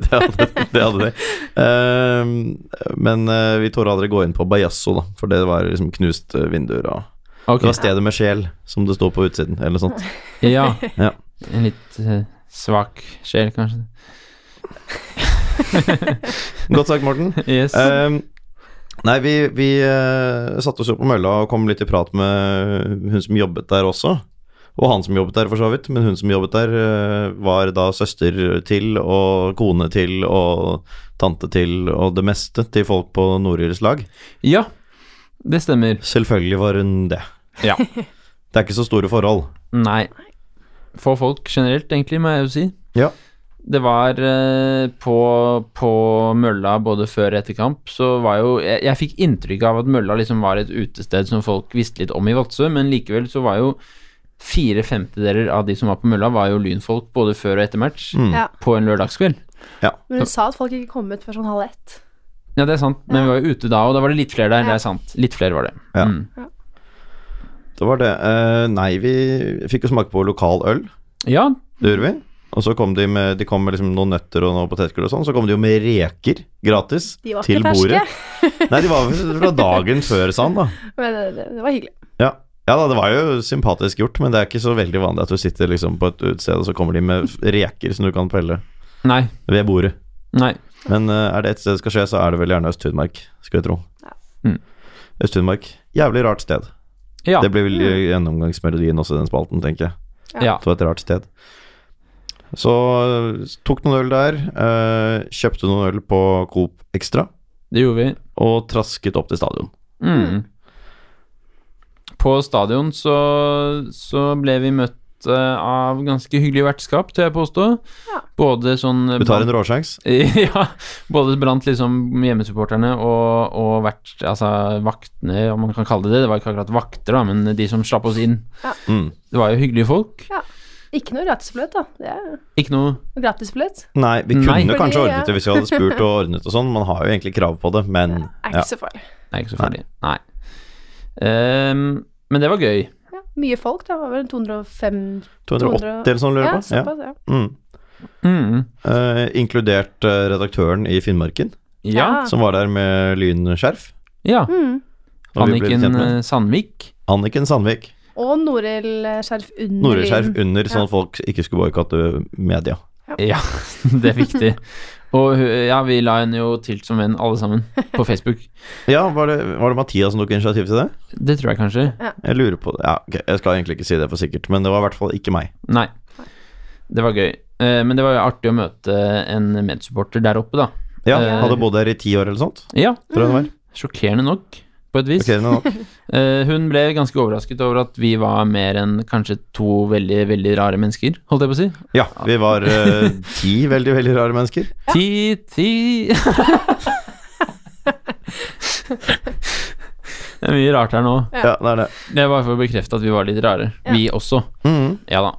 S2: det, hadde, det hadde de. Eh, men eh, vi torde aldri gå inn på Bajasso, da, for det var liksom knust eh, vinduer og
S1: Ok,
S2: Det var stedet med sjel, som det står på utsiden, eller noe sånt.
S1: ja.
S2: Ja.
S1: En litt eh, svak sjel, kanskje.
S2: Godt sagt, Morten.
S1: Yes.
S2: Ehm, nei, vi, vi eh, satte oss opp på mølla og kom litt i prat med hun som jobbet der også. Og han som jobbet der, for så vidt. Men hun som jobbet der, eh, var da søster til og kone til og tante til og det meste til folk på Nordyrs lag.
S1: Ja, det stemmer.
S2: Selvfølgelig var hun det.
S1: Ja.
S2: Det er ikke så store forhold.
S1: Nei. Få folk generelt, egentlig, må jeg jo si.
S2: Ja.
S1: Det var eh, på, på mølla både før og etter kamp, så var jo Jeg, jeg fikk inntrykk av at mølla liksom var et utested som folk visste litt om i Vadsø, men likevel så var jo fire femtedeler av de som var på mølla, var jo lynfolk både før og etter match
S2: Mm.
S3: ja.
S1: på en lørdagskveld.
S3: Men hun sa at folk ikke kom ut før sånn halv ett.
S1: Ja, det er sant, men vi var jo ute da, og da var det litt flere der. Det er sant. Litt flere var det.
S2: Ja.
S1: Mm.
S2: Det var det. Eh, nei, vi fikk jo smake på lokal øl.
S1: ja
S2: Det gjorde vi. Og så kom de med, de kom med liksom noen nøtter og noen potetgull og sånn. Så kom de jo med reker gratis
S3: De var
S2: til
S3: ikke
S2: bordet.
S3: ferske,
S2: Nei, de var vel fra dagen før, sa han da.
S3: men eh, det, det, det var hyggelig.
S2: Ja. ja da, det var jo sympatisk gjort, men det er ikke så veldig vanlig at du sitter liksom på et utested, og så kommer de med reker som du kan pelle
S1: Nei.
S2: ved bordet.
S1: Nei.
S2: Men eh, er det et sted det skal skje, så er det vel gjerne Øst-Finnmark, skulle jeg tro.
S3: Ja.
S1: Mm.
S2: Øst-Finnmark, jævlig rart sted.
S1: Ja.
S2: Det blir vel gjennomgangsmelodien også i den spalten, tenker jeg.
S1: ja.
S2: Det var et rart sted. Så eh, tok noen øl der, eh, kjøpte noen øl på Coop Extra,
S1: Det gjorde vi.
S2: og trasket opp til stadion.
S1: Mm. På stadion så, så ble vi møtt eh, av ganske hyggelig vertskap, tør jeg påstå.
S3: Ja.
S1: Både sånn
S2: Vi tar en råsjans.
S1: ja, både blant liksom hjemmesupporterne og, og vert, altså vaktene, om man kan kalle det det. Det var ikke akkurat vakter, da, men de som slapp oss inn.
S2: Mm.
S1: Det var jo hyggelige folk.
S3: Ikke noe gratisfløyt, da. Det er
S1: Ikke noe
S3: gratisfløyt.
S2: Nei, vi
S1: Nei.
S2: kunne kanskje
S3: Fordi,
S2: ordnet
S3: ja.
S2: det hvis vi hadde spurt og ordnet og sånn. Man har jo egentlig krav på det, men
S3: Er ikke
S2: ja.
S3: så farlig.
S1: Nei, ikke så farlig. Nei. Ehm, men det var gøy.
S3: Ja. Mye folk, da. Det var vel 205
S2: 280 eller sånn, lurer
S3: Ja,
S2: jeg på.
S3: såpass, ja.
S2: Ja. Mm.
S1: Mm.
S2: Eh, inkludert eh, redaktøren i Finnmarken,
S1: Ja.
S3: Ja.
S2: som var der med lynskjerf.
S1: ja.
S3: Mm.
S2: og vi ble litt kjent
S1: Anniken
S2: med.
S1: eh, Sandvik.
S2: Anniken Sandvik.
S3: Og Norild-skjerf under.
S2: Noreskjerf
S3: lyden.
S2: under, sånn at folk ikke skulle boikotte media.
S1: Ja, det er viktig. Og hu- ja, vi la henne jo til som venn, alle sammen, på Facebook.
S2: Ja, var det, var det Mathias som tok initiativ til det?
S1: Det tror jeg kanskje.
S2: Jeg lurer på det. Ja, ok, jeg skal egentlig ikke si det for sikkert, men det var i hvert fall ikke meg.
S1: Nei. Det var gøy. Eh, Men det var jo artig å møte en medsupporter der oppe, da.
S2: Ja,
S1: Eh.
S2: Hadde bodd der i ti år eller sånt,
S1: Ja,
S2: tror jeg
S3: Mm.
S2: det var.
S1: sjokkerende nok, på et vis.
S2: Sjokkerende nok.
S1: Eh, Hun ble ganske overrasket over at vi var mer enn kanskje to veldig, veldig rare mennesker, holdt jeg på å si.
S2: Ja, vi var eh, ti veldig, veldig rare mennesker.
S1: Ti, ti Det er mye rart her nå.
S2: Ja, det er det.
S1: Det var for å bekrefte at vi var litt rare,
S3: Ja.
S1: vi også.
S2: Mhm.
S1: Ja da.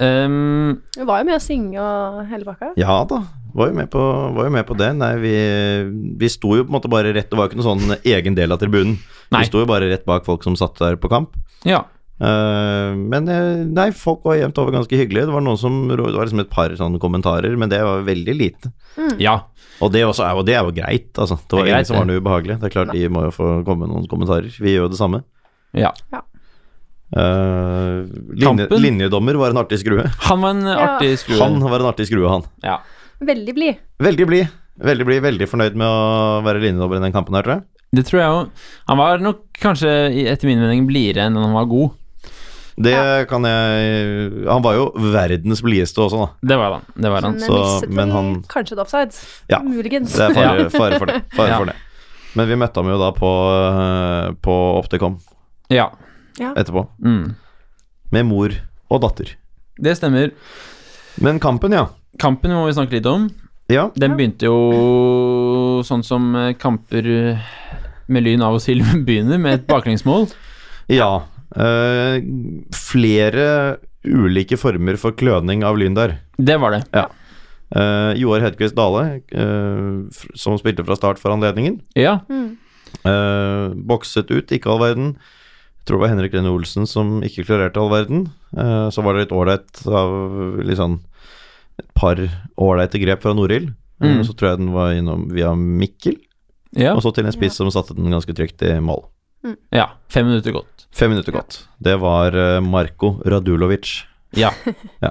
S1: Ehm,
S3: Hun var jo med å synge og hele pakka.
S2: Ja da, var jo med på, var jo med på det. Nei, vi, vi sto jo på en måte bare rett Det var jo ikke noen sånn egen del av tribunen.
S1: Nei.
S2: Vi sto jo bare rett bak folk som satt der på kamp.
S1: ja.
S2: Eh, men eh, nei, folk var jevnt over ganske hyggelige. Det var noen som Det var liksom et par sånne kommentarer, men det var veldig lite.
S1: ja.
S2: Og det, også er, jo- det er jo greit, altså. Det var
S1: Det er greit,
S2: ingen som var
S1: det.
S2: noe ubehagelig. Det er klart de må jo få komme med noen kommentarer. Vi gjør jo det samme.
S1: Ja.
S2: Eh, linje,
S1: Kampen?
S2: linjedommer var en artig skrue.
S1: Han var en artig skrue.
S2: Han var en artig skrue, han.
S1: Ja.
S3: Veldig blid.
S2: Veldig blid. Veldig blid, veldig fornøyd med å være linjedommer i den kampen her, tror jeg.
S1: Det tror jeg òg. Han var nok kanskje, i- etter min mening, blidere enn han var god.
S2: Det kan jeg Han var jo verdens blideste også, da.
S1: Det var han. Det var han.
S3: Men
S2: så-
S3: mistet
S2: men
S3: vel
S2: han-
S3: kanskje et offside.
S2: Ja.
S3: Muligens.
S2: Det er fare,
S1: Ja.
S2: fare for det. Fare
S1: Ja.
S2: for det. Men vi møtte ham jo da på, eh, på Opticom
S1: Ja.
S2: etterpå.
S1: Mm.
S2: Med mor og datter.
S1: Det stemmer.
S2: Men kampen, ja.
S1: Kampen må vi snakke litt om.
S2: Ja,
S1: Den begynte jo sånn som eh, kamper eh, Melyn av og til begynner med et baklengsmål.
S2: Ja. eh, flere ulike former for kløning av lyn der.
S1: Det var det.
S2: Eh, Joar Hedquist Dale, eh, fr- som spilte fra start for anledningen,
S1: Ja,
S2: eh, bokset ut, ikke all verden. Jeg tror det var Henrik Renne Olsen som ikke klarerte all verden. Eh, så var det litt ålreit av litt sånn et par ålreite grep fra Norild. Eh,
S1: Mm.
S2: Så tror jeg den var innom via Mikkel,
S1: ja,
S2: og så til en spiss som satte den ganske trygt i mål.
S1: ja. Fem minutter gått.
S2: Fem minutter gått. Det var eh, Marko Radulovic.
S1: Ja.
S2: Ja.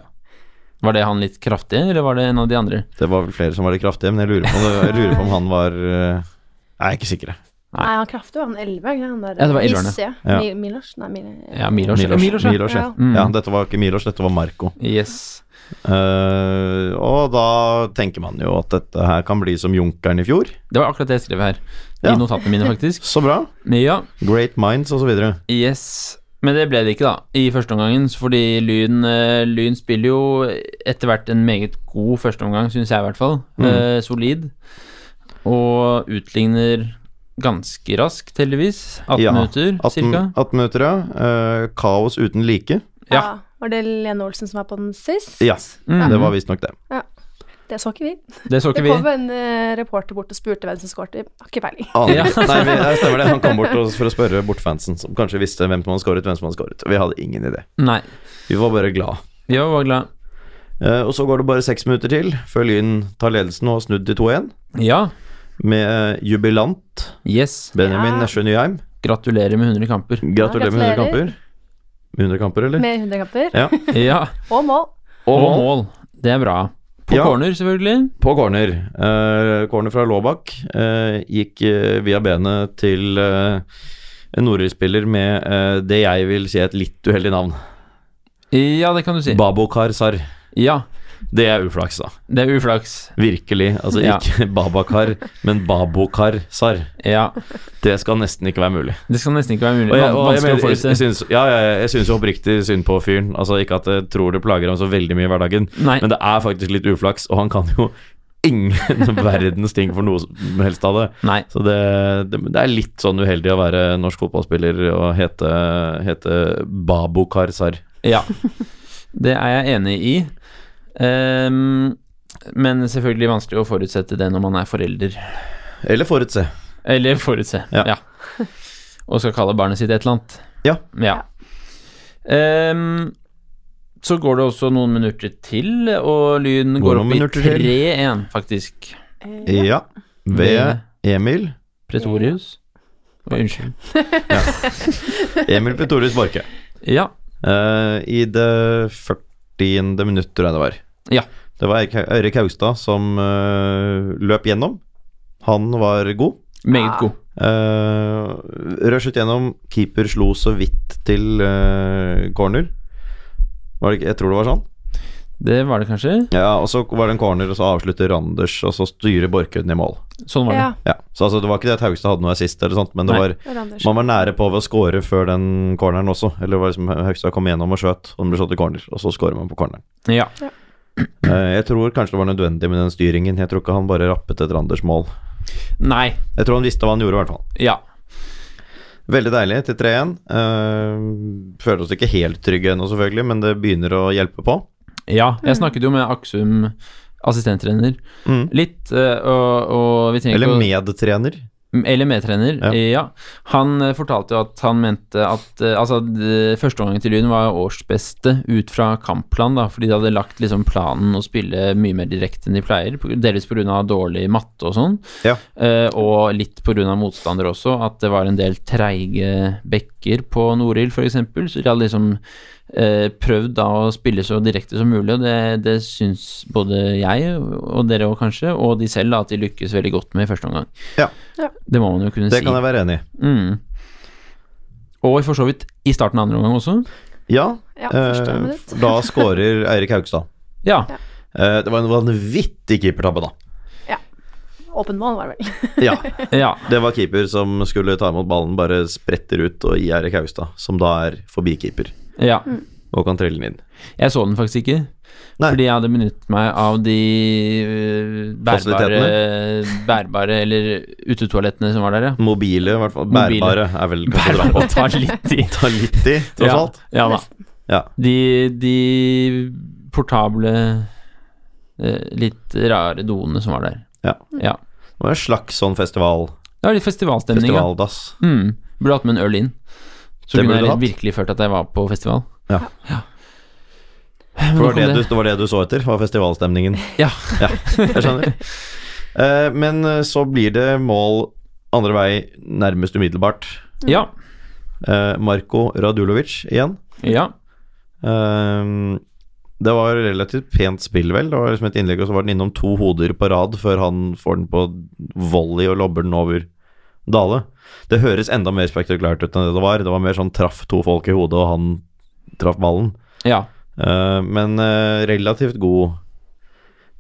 S1: Var det han litt kraftig, eller var det en av de andre?
S2: Det var vel flere som var litt kraftige, men jeg lurer på, jeg lurer på om han var eh, Jeg er ikke sikker. jeg.
S1: Nei.
S3: Nei, han kraftig var han 11, ikke han der?
S1: Ja, det var 11-erne.
S3: Isse,
S2: Ja.
S3: Mi- Milos? Nei, Mil
S1: Ja, Milos.
S2: Milos,
S1: Milos, ja.
S2: Milos, ja.
S3: Ja.
S1: Mm.
S2: ja, dette var ikke Milos, dette var Marco.
S1: Yes.
S2: Eh, og da tenker man jo at dette her kan bli som Junkeren i fjor.
S1: Det var akkurat det jeg skrev her. I
S2: Ja.
S1: notatene mine, faktisk.
S2: Så bra.
S1: Men ja,
S2: Great minds osv.
S1: yes. Men det ble det ikke, da, i første omgangen. Fordi Lyn, eh, lyn spiller jo etter hvert en meget god førsteomgang, syns jeg i hvert fall. Eh, solid. Og utligner ganske raskt, heldigvis. 18 minutter,
S2: 18,
S1: cirka.
S2: 18 minutter, ja. Eh, kaos uten like.
S3: ja.
S1: Ja.
S3: Var det Lene Olsen som var på den sist?
S2: Ja,
S1: Mm.
S2: det var visstnok det.
S3: Det så ikke vi.
S1: Det så
S3: Det
S1: ikke vi.
S3: kom en eh, reporter bort og spurte hvem som skåret. Har ikke peiling.
S2: Aner
S1: Ja.
S2: ikke. Nei, vi, nei, stemmer det. Han kom bort til oss for å spørre bortfansen, som kanskje visste hvem som hadde skåret, hvem som hadde skåret. Vi hadde ingen idé.
S1: Nei.
S2: Vi var bare glad.
S1: Vi var bare glad.
S2: Eh, og så går det bare seks minutter til før Lyn tar ledelsen og har snudd til 2-1
S1: Ja.
S2: med eh, jubilant
S1: Yes.
S2: Benjamin
S3: Ja.
S2: Nesjø Nyheim.
S1: Gratulerer med 100 kamper.
S2: Gratulerer med 100
S3: gratulerer.
S2: kamper. Med 100 kamper, eller?
S3: Med 100 kamper.
S2: Ja.
S1: Ja.
S3: Og mål.
S1: Og mål. Det er bra. På
S2: Ja.
S1: corner, selvfølgelig.
S2: På corner. Eh, corner fra Laabak eh, gikk eh, via benet til eh, en Nordøy-spiller med eh, det jeg vil si er et litt uheldig navn.
S1: Ja, det kan du si.
S2: Babokar Sar.
S1: Ja,
S2: Det er uflaks, da.
S1: det er uflaks.
S2: Virkelig. Altså
S1: Ja.
S2: ikke Babakar, men Babokar Sar.
S1: Ja,
S2: Det skal nesten ikke være mulig.
S1: Det skal nesten ikke være mulig.
S2: Og jeg,
S1: Vanskelig
S2: og jeg,
S1: å
S2: mener, jeg, jeg,
S1: forutse.
S2: syns, ja, ja, ja, jeg syns jo oppriktig synd på fyren. Altså Ikke at jeg tror det plager ham så veldig mye i hverdagen,
S1: Nei.
S2: men det er faktisk litt uflaks, og han kan jo ingen verdens ting for noe som helst av det.
S1: Nei.
S2: Så det, det, det er litt sånn uheldig å være norsk fotballspiller og hete, hete Babo Karzar.
S1: Ja. Det er jeg enig i. Ehm, men selvfølgelig vanskelig å forutsette det når man er forelder.
S2: Eller forutse.
S1: Eller forutse,
S2: Ja.
S1: ja. Og skal kalle barnet sitt et eller annet.
S2: Ja.
S1: Ehm, så går det også noen minutter til, og Lyn går,
S2: Går noen
S1: opp i
S2: minutter til.
S1: 3-1, faktisk.
S2: Ja.
S3: Eh,
S2: Ved
S1: Ved-
S2: Emil
S1: Pretorius. Oi, unnskyld.
S2: Emil Petorius Borke.
S1: Ja.
S2: Eh, I det 40. minutt, tror jeg det var.
S1: Ja.
S2: Det var Eirik- Eirik Haugstad som eh, løp gjennom. Han var god.
S1: Meget god.
S2: Uh, rushet gjennom. Keeper slo så vidt til eh, corner. Var det ikke, jeg tror det var sånn.
S1: Det var det kanskje.
S2: Ja, Og så var det en corner, og så avslutter Randers, og så styrer Borke den i mål.
S1: Sånn var det.
S3: Ja.
S2: Ja, Så altså, det var ikke det at Haugstad hadde noe assist, eller sånt, men det
S1: Nei.
S2: var
S3: og Randers.
S2: man var nære på ved å score før den corneren også. Eller det var liksom Haugstad kom gjennom og skjøt, og den ble slått i corner, og så scorer man på corneren.
S1: Ja.
S2: Eh, Jeg tror kanskje det var nødvendig med den styringen. Jeg tror ikke han bare rappet et Randers mål.
S1: Nei.
S2: Jeg tror han visste hva han gjorde, i hvert fall.
S1: Ja.
S2: Veldig deilig til 3-1. Eh, Føler oss ikke helt trygge ennå, selvfølgelig, men det begynner å hjelpe på.
S1: Ja. Jeg snakket jo med Aksum, assistenttrener,
S2: Mm.
S1: litt, eh, og, og vi trenger
S2: Eller
S1: ikke å-
S2: medtrener.
S1: Eller medtrener,
S2: Ja.
S1: ja. Han eh, fortalte jo at han mente at eh, Altså, d- første omgang til Lyn var årsbeste ut fra kampplan, da, fordi de hadde lagt liksom planen å spille mye mer direkte enn de pleier, på- delvis pga. dårlig matte og sånn,
S2: Ja.
S1: eh, og litt pga. motstandere også, at det var en del treige bekker på Norild, f.eks., så de hadde liksom eh, prøvd da å spille så direkte som mulig, og det, det syns både jeg, og dere òg kanskje, og de selv, da, at de lykkes veldig godt med i første omgang.
S2: Ja.
S3: Ja.
S1: Det må man jo kunne
S2: Det
S1: si.
S2: kan jeg være enig i.
S1: Mm. Og for så vidt i starten av andre omgang også.
S2: Ja,
S3: Ja, første
S2: eh,
S3: minutt.
S2: da scorer Eirik Haugstad.
S1: Ja.
S2: Eh, Det var en vanvittig keepertabbe, da.
S3: Åpen mål, var det vel.
S2: Ja,
S1: ja.
S2: Det var keeper som skulle ta imot ballen, bare spretter ut og gi Erik Haugstad, som da er forbi keeper.
S1: ja.
S2: og kan trille den inn.
S1: Jeg så den faktisk ikke.
S2: Nei.
S1: Fordi jeg hadde benyttet meg av de øh, bærbare, bærbare eller utetoalettene som var der, ja.
S2: Mobile, i hvert fall.
S1: Mobile.
S2: Bærbare er vel kanskje å dra på.
S1: Og tar litt tid.
S2: Ta litt i, tross
S1: ja,
S2: alt.
S1: Ja da.
S2: Ja.
S1: De, de portable eh, litt rare doene som var der.
S2: Ja.
S1: Ja.
S2: Det var en slags sånn festival,
S1: Det var litt festivalstemning. ja.
S2: festivaldass.
S1: Mm. Burde hatt med en øl inn. Så
S2: Det
S1: kunne
S2: burde du
S1: jeg
S2: hatt.
S1: virkelig følt at jeg var på festival.
S2: Ja.
S1: Men
S2: For
S1: nok
S2: det,
S1: om
S2: var det, du, det var det du så etter, var festivalstemningen.
S1: Ja.
S2: jeg skjønner. Eh, men eh, så blir det mål andre vei nærmest umiddelbart.
S1: ja.
S2: Eh, Marko Radulovic igjen.
S1: ja.
S2: Ehm, det var relativt pent spill, vel. Det var liksom et innlegg, og så var den innom to hoder på rad før han får den på volley og lobber den over Dale. Det høres enda mer spektakulært ut enn det det var. Det var mer sånn traff to folk i hodet, og han traff ballen.
S1: Ja.
S2: Eh, men eh, relativt god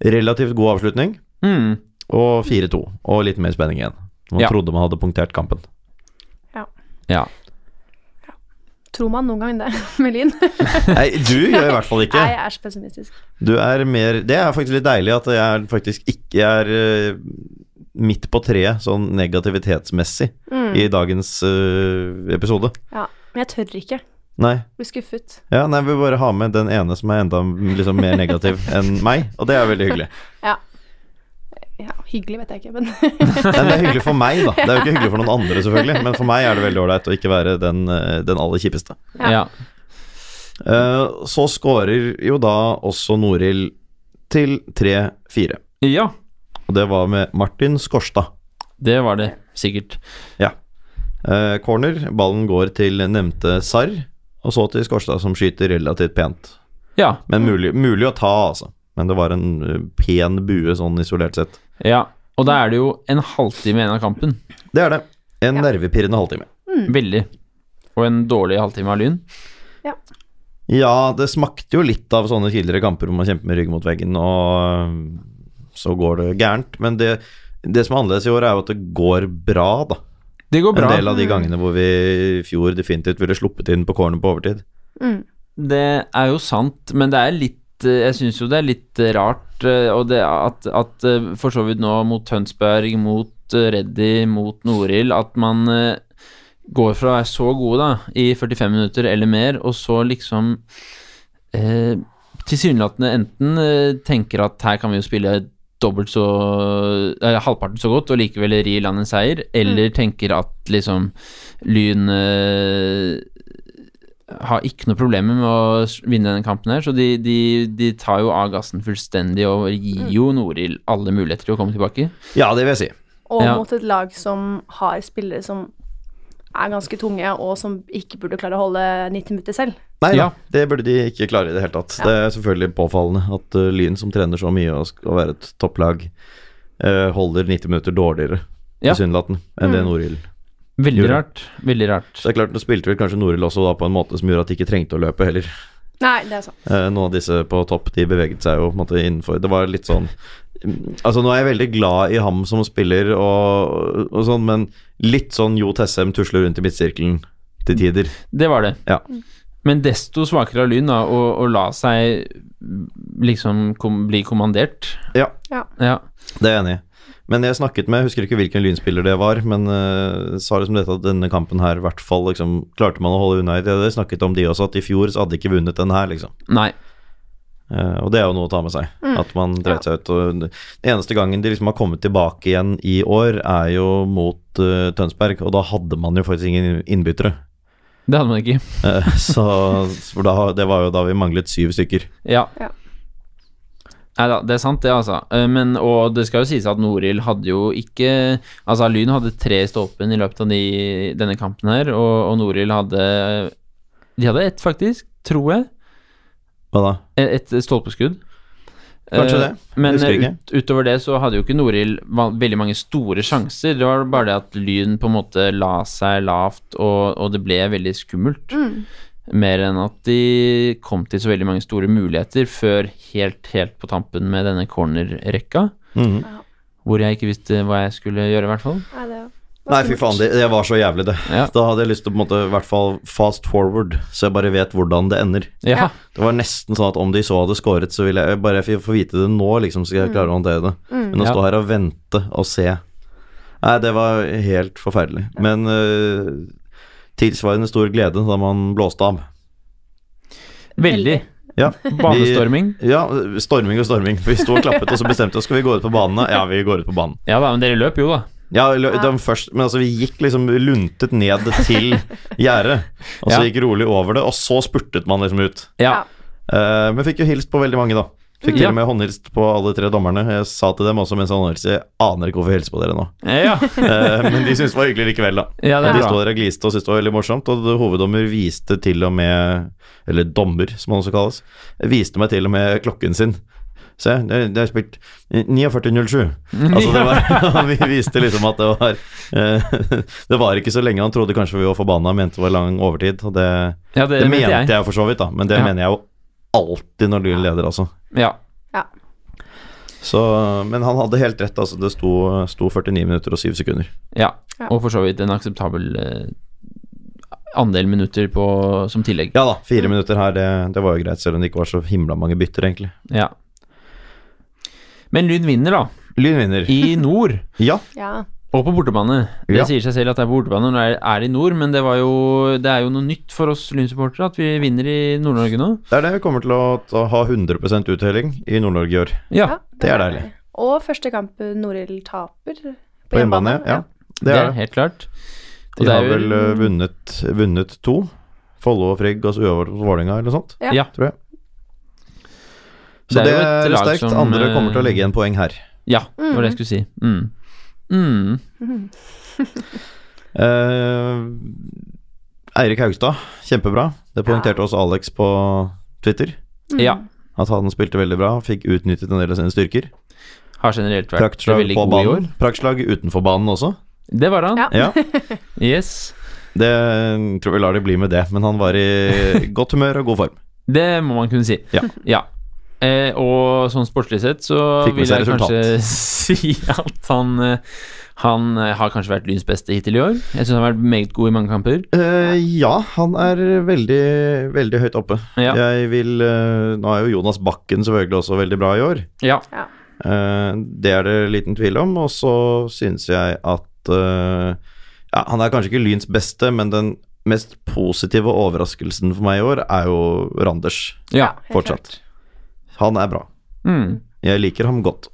S2: Relativt god avslutning,
S1: Mm.
S2: og 4-2. Og litt mer spenning igjen. Man
S1: Ja.
S2: trodde man hadde punktert kampen.
S1: ja.
S3: Tror man noen gang det, Melin?
S2: Nei, du gjør i hvert fall ikke.
S3: Nei, jeg er så pessimistisk.
S2: Du er mer Det er faktisk litt deilig at jeg er faktisk ikke jeg er eh, midt på treet sånn negativitetsmessig i dagens eh, episode.
S3: Ja. Men jeg tør ikke.
S2: Nei.
S3: Blir skuffet.
S2: Ja, nei, vi bare har med den ene som er enda liksom, mer negativ enn meg, og det er veldig hyggelig.
S3: Ja. ja. Hyggelig vet jeg ikke, men
S2: Nei, det er hyggelig for meg, da. Det er jo ikke hyggelig for noen andre, selvfølgelig, men for meg er det veldig ålreit å ikke være den, eh, den aller kjipeste.
S1: ja. ja.
S2: Eh, så scorer jo da også Noril til 3-4,
S1: Ja,
S2: og det var med Martin Skorstad.
S1: det var det sikkert.
S2: Eh, corner, ballen går til nevnte Sarr, og så til Skorstad, som skyter relativt pent.
S1: Ja,
S2: Men mulig, mulig å ta, altså. Men det var en eh, pen bue, sånn isolert sett.
S1: ja. Og da er det jo en halvtime igjen av kampen.
S2: Det er det. En nervepirrende halvtime.
S1: Veldig. Og en dårlig halvtime av Lyn.
S2: Ja, det smakte jo litt av sånne tidligere kamper hvor man kjemper med ryggen mot veggen, og eh, så går det gærent. Men det, det som er annerledes i år, er jo at det går bra, da.
S1: Det går bra.
S2: En del av de gangene hvor vi i fjor definitivt ville sluppet inn på corner på overtid.
S1: Det er jo sant, men det er litt eh, Jeg syns jo det er litt eh, rart eh, og det at, at eh, for så vidt nå mot Tønsberg, mot eh, Reddy, mot Norild, at man eh, går fra å være så gode da, i 45 minutter eller mer, og så liksom eh, tilsynelatende enten eh, tenker at her kan vi jo spille dobbelt så eh, halvparten så godt og likevel ri i land en seier, eller tenker at liksom Lyn eh, har ikke noe problemer med å s- vinne denne kampen her, så de, de, de tar jo av gassen fullstendig og gir jo Norild alle muligheter til å komme tilbake.
S2: Ja, det vil jeg si.
S3: Og
S1: Ja.
S3: mot et lag som har spillere som er ganske tunge, og som ikke burde klare å holde 90 minutter selv.
S2: Nei
S1: Ja.
S2: da, det burde de ikke klare i det hele tatt. Det er selvfølgelig påfallende at uh, Lyn, som trener så mye og skal være et topplag, uh, holder 90 minutter dårligere
S1: Ja. Mm.
S2: tilsynelatende enn det Norild.
S1: Veldig
S2: Gjorde.
S1: rart. Veldig rart.
S2: Så det er klart, nå spilte vel kanskje Norild også da på en måte som gjorde at de ikke trengte å løpe heller.
S3: Nei, det er sant.
S2: Eh, noen av disse på topp, de beveget seg jo på en måte innenfor Det var litt sånn mm, Altså, nå er jeg veldig glad i ham som spiller og, og sånn, men litt sånn Jo Tessem tusler rundt i midtsirkelen til tider.
S1: Det var det.
S2: Ja.
S1: Men desto svakere av Lyn da, å, å la seg liksom kom, bli kommandert.
S2: Ja.
S1: Ja.
S2: Det er jeg enig i. Men jeg snakket med, jeg husker ikke hvilken lynspiller det var, men eh, sa liksom dette at denne kampen her i hvert fall liksom, klarte man å holde unna i det. Jeg snakket om de også, at i fjor så hadde de ikke vunnet den her, liksom.
S1: Nei.
S2: Eh, og det er jo noe å ta med seg, at man dreit seg ut. Og den eneste gangen de liksom har kommet tilbake igjen i år, er jo mot eh, Tønsberg, og da hadde man jo faktisk ingen innbyttere.
S1: Det hadde man ikke.
S2: Eh, så for da, det var jo da vi manglet syv stykker.
S1: Ja.
S3: Ja.
S1: Nei da, det er sant det, altså. Eh, Men, og det skal jo sies at Norild hadde jo ikke Altså, Lyn hadde tre i stolpen i løpet av de, denne kampen her, og, og Norild hadde De hadde ett, faktisk, tror jeg.
S2: Hva da?
S1: Et, Eh, et stolpeskudd.
S2: Kanskje
S1: Eh,
S2: det.
S1: Men
S2: Husker ikke.
S1: ut, utover det så hadde jo ikke Norild va- veldig mange store sjanser. Det var bare det at Lyn på en måte la seg lavt, og, og det ble veldig skummelt. Mer enn at de kom til så veldig mange store muligheter før helt, helt på tampen med denne cornerrekka.
S2: Mhm.
S1: Hvor jeg ikke visste hva jeg skulle gjøre, i hvert fall.
S3: Nei, det
S2: Nei, fy faen, det, det var så jævlig, det.
S1: Ja.
S2: Da hadde jeg lyst til å på en måte, i hvert fall fast forward, så jeg bare vet hvordan det ender.
S1: Ja.
S2: Det var nesten sånn at om de så hadde skåret, så ville jeg bare få vite det nå, liksom, så skal jeg klare å håndtere det. Men å
S1: Ja.
S2: stå her og vente og se Nei, det var helt forferdelig. Men øh, tilsvarende stor glede da man blåste av.
S1: Veldig.
S2: Ja,
S1: Banestorming.
S2: Vi, ja, storming og storming. Vi sto og klappet, og så bestemte vi oss skal vi gå ut på banen. da? Ja, vi går ut på banen.
S1: Ja da, men dere løp jo, da.
S2: Ja, eller, det var først, men altså vi gikk liksom luntet ned til gjerdet, og
S1: Ja.
S2: så gikk rolig over det, og så spurtet man liksom ut.
S1: Ja.
S3: Ja.
S2: Eh, men fikk jo hilst på veldig mange, da. Fikk
S1: Mm. Ja.
S2: til og med håndhilst på alle tre dommerne. Jeg sa til dem også mens jeg håndhilste, jeg aner ikke hvorfor jeg hilser på dere nå.
S1: Ja,
S2: Eh, men de syntes det var hyggelig likevel, da.
S1: ja det
S2: Og
S1: er
S2: de sto
S1: bra.
S2: der og gliste og syntes det var veldig morsomt. Og hoveddommer viste til og med Eller dommer, som han også kalles. Viste meg til og med klokken sin. Se, det det er spilt 49.07. Altså, det var Vi viste liksom at det var eh, Det var ikke så lenge. Han trodde kanskje vi var forbanna, mente det var lang overtid. Og det,
S1: Ja, det,
S2: det
S1: mente jeg.
S2: for så vidt, da. Men det
S1: Ja.
S2: mener jeg jo alltid når du leder, altså.
S1: Ja.
S2: Så, men han hadde helt rett, altså. Det sto, sto 49 minutter og 7 sekunder.
S1: ja.
S3: Ja.
S1: Og for så vidt en akseptabel eh, andel minutter på, som tillegg.
S2: Ja da, fire
S1: Mm.
S2: minutter her, det, det var jo greit, selv om det ikke var så himla mange bytter, egentlig.
S1: Ja. Men Lyn vinner, da.
S2: Lyn vinner.
S1: I nord.
S2: Ja,
S3: Ja.
S1: Og på bortebane. Det
S2: Ja.
S1: sier seg selv at det er på bortebane når det er- er i nord, men det, var jo, det er jo noe nytt for oss Lyn-supportere at vi vinner i Nord-Norge nå.
S2: det er det. Vi kommer til å ta, ha 100 uttelling i Nord-Norge i år.
S1: Ja.
S3: ja.
S2: Det er deilig.
S3: Og første kamp Norhild taper på,
S2: På hjemmebane. Ja,
S1: det
S2: det er det.
S1: helt klart. Og
S2: De
S1: det er
S2: har
S1: jo-
S2: vel eh, vunnet, vunnet to. Follo og Frigg, altså uavgjort mot Vålerenga eller noe sånt,
S3: Ja.
S1: Ja.
S2: tror jeg.
S1: Det
S2: Så
S1: er
S2: det
S1: jo et
S2: er
S1: lag
S2: sterkt.
S1: som,
S2: Andre kommer til å
S1: eh,
S2: legge igjen poeng her.
S1: Ja, det var det jeg skulle si. Mm. Mm.
S2: Eh, Eirik Haugstad, kjempebra. Det poengterte oss Alex på Twitter.
S3: Mm.
S1: Ja.
S2: At han spilte veldig bra, fikk utnyttet en del av sine styrker.
S1: Har generelt vært
S2: Praktslag
S1: veldig
S2: på
S1: god i år.
S2: banen. Praktslag utenfor banen også.
S1: Det var han.
S3: Ja.
S2: Ja,
S1: Yes.
S2: det tror vi lar det bli med det. Men han var i godt humør og god form.
S1: Det må man kunne si.
S2: Ja.
S1: Eh, og sånn sportslig sett så
S2: Fikk med
S1: vil
S2: seg
S1: jeg kanskje si at han eh, Han eh, har kanskje vært Lyns beste hittil i år. Jeg syns han har vært meget god i mange kamper.
S2: Eh, ja, han er veldig, veldig høyt oppe.
S1: Ja.
S2: Jeg vil eh, Nå er jo Jonas Bakken selvfølgelig også veldig bra i år.
S1: Ja.
S2: Eh, det er det liten tvil om. Og så syns jeg at eh, ja, Han er kanskje ikke Lyns beste, men den mest positive overraskelsen for meg i år er jo Randers,
S1: ja.
S3: Helt
S2: fortsatt. Han er bra.
S1: Mm.
S2: Jeg liker ham godt.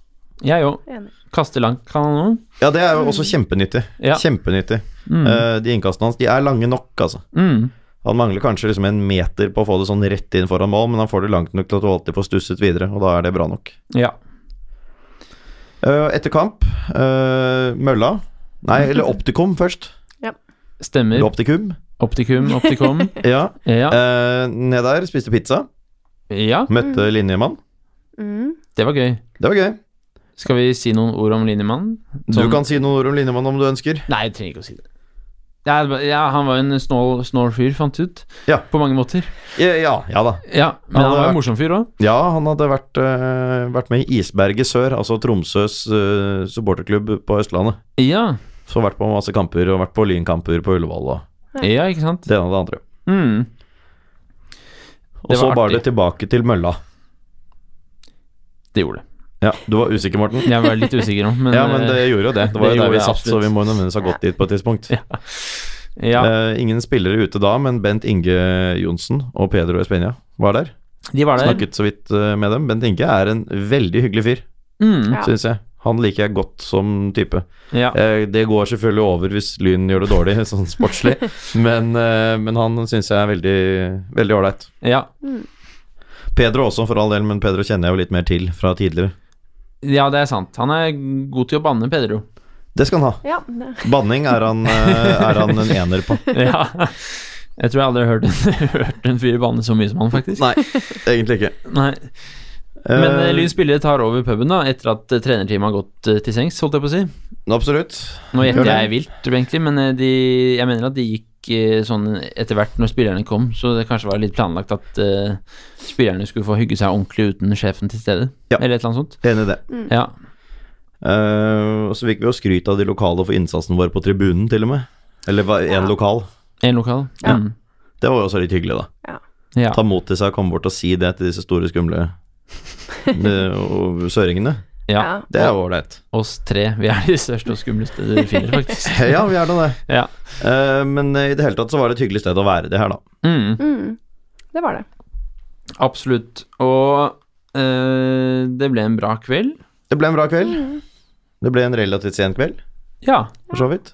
S1: Jeg òg.
S3: klart. Enig.
S1: Kaste langt kan han òg.
S2: Ja, det er jo også kjempenyttig.
S1: Mm. Ja.
S2: Kjempenyttig. Eh, de innkastene hans, de er lange nok, altså.
S1: Mm.
S2: Han mangler kanskje liksom en meter på å få det sånn rett inn foran mål, men han får det langt nok til at du alltid får stusset videre, og da er det bra nok.
S1: Ja.
S2: Eh, etter kamp, eh, mølla Nei, eller optikum først.
S1: Stemmer.
S2: Eller optikum.
S1: Optikum, optikom.
S2: Ja.
S1: Ja.
S2: Eh, ned der, spiste pizza. Eh.
S1: ja,
S2: Møtte linjemann.
S3: Mm.
S1: det var gøy.
S2: Det var gøy.
S1: Skal vi si noen ord om linjemannen?
S2: Du
S1: Som-
S2: kan si noen ord om linjemann om du ønsker.
S1: Nei, jeg trenger ikke å si det. Ja, det var- ja, han var en snål, snål fyr, fant ut.
S2: Ja.
S1: På mange måter.
S2: Ja, ja, ja da.
S1: Ja, Men han
S2: Han hadde
S1: var
S2: vært-
S1: en morsom fyr òg.
S2: Ja, han hadde vært, eh, vært med i Isberget Sør, altså Tromsøs eh, supporterklubb på Østlandet.
S1: Ja.
S2: Så vært på masse kamper, og vært på Lynkamper på Ullevål og
S1: ja, ikke sant?
S2: det ene og det andre.
S1: Mm.
S2: Og
S1: Det
S2: så
S1: var
S2: bar
S1: artig.
S2: det tilbake til mølla.
S1: Det gjorde det.
S2: Ja, du var usikker, Morten?
S1: Jeg var litt usikker om, men eh,
S2: Ja, men det gjorde jo det. Det var
S1: Det
S2: jo der
S1: gjorde
S2: vi
S1: det,
S2: satt, så
S1: absolutt.
S2: vi må jo nødvendigvis ha gått dit på et tidspunkt.
S1: eh, ja,
S2: Eh, ingen spillere ute da, men Bent Inge Johnsen og Pedro Espenia var der.
S1: De var der.
S2: Snakket så vidt eh, med dem. Bent Inge er en veldig hyggelig fyr,
S1: Mm.
S3: Ja.
S2: syns jeg. Han liker jeg godt som type.
S1: Ja.
S2: Eh, Det går selvfølgelig over hvis Lyn gjør det dårlig, sånn sportslig, men, eh, men han syns jeg er veldig veldig ålreit.
S1: ja.
S2: Pedro også, for all del, men Pedro kjenner jeg jo litt mer til fra tidligere.
S1: Ja, det er sant. Han er god til å banne, Pedro.
S2: Det skal han ha.
S3: Ja. det-
S2: Banning er han, eh, er han en ener på.
S1: Ja. Jeg tror jeg aldri har hørt en, hørt en fyr banne så mye som han, faktisk.
S2: Nei, egentlig ikke.
S1: Nei. Men
S2: Eh,
S1: uh, Lyns spillere tar over puben da, etter at eh, trenerteamet har gått eh, til sengs, holdt jeg på å si.
S2: Absolutt.
S1: Nå
S2: Gjør
S1: gjetter
S2: det.
S1: jeg vilt, egentlig, men eh, de, jeg mener at de gikk eh, sånn etter hvert når spillerne kom, så det kanskje var litt planlagt at eh, spillerne skulle få hygge seg ordentlig uten sjefen til stede,
S2: Ja. Mm.
S1: eller et eller annet sånt.
S2: Enig i det.
S1: Ja.
S2: Eh, og så fikk vi jo skryt av de lokale for innsatsen vår på tribunen, til og med. Eller var én lokal.
S1: En lokal.
S3: Ja.
S1: Mm.
S2: Det var jo også litt hyggelig, da.
S1: Ja.
S2: Ta mot til seg og komme bort og si det til disse store, skumle eh, og søringene.
S1: ja.
S3: Ja.
S2: Det er jo ålreit.
S1: Oss tre. Vi er de største og skumleste du finner, faktisk.
S2: Ja, vi er da det.
S1: Ja.
S2: Eh, men eh, i det hele tatt så var det et hyggelig sted å være, det her, da.
S1: Mm.
S3: Mm. Det var det.
S1: Absolutt. Og eh, det ble en bra kveld.
S2: Det ble en bra kveld. Det ble en relativt sen kveld,
S1: Ja.
S2: for så vidt.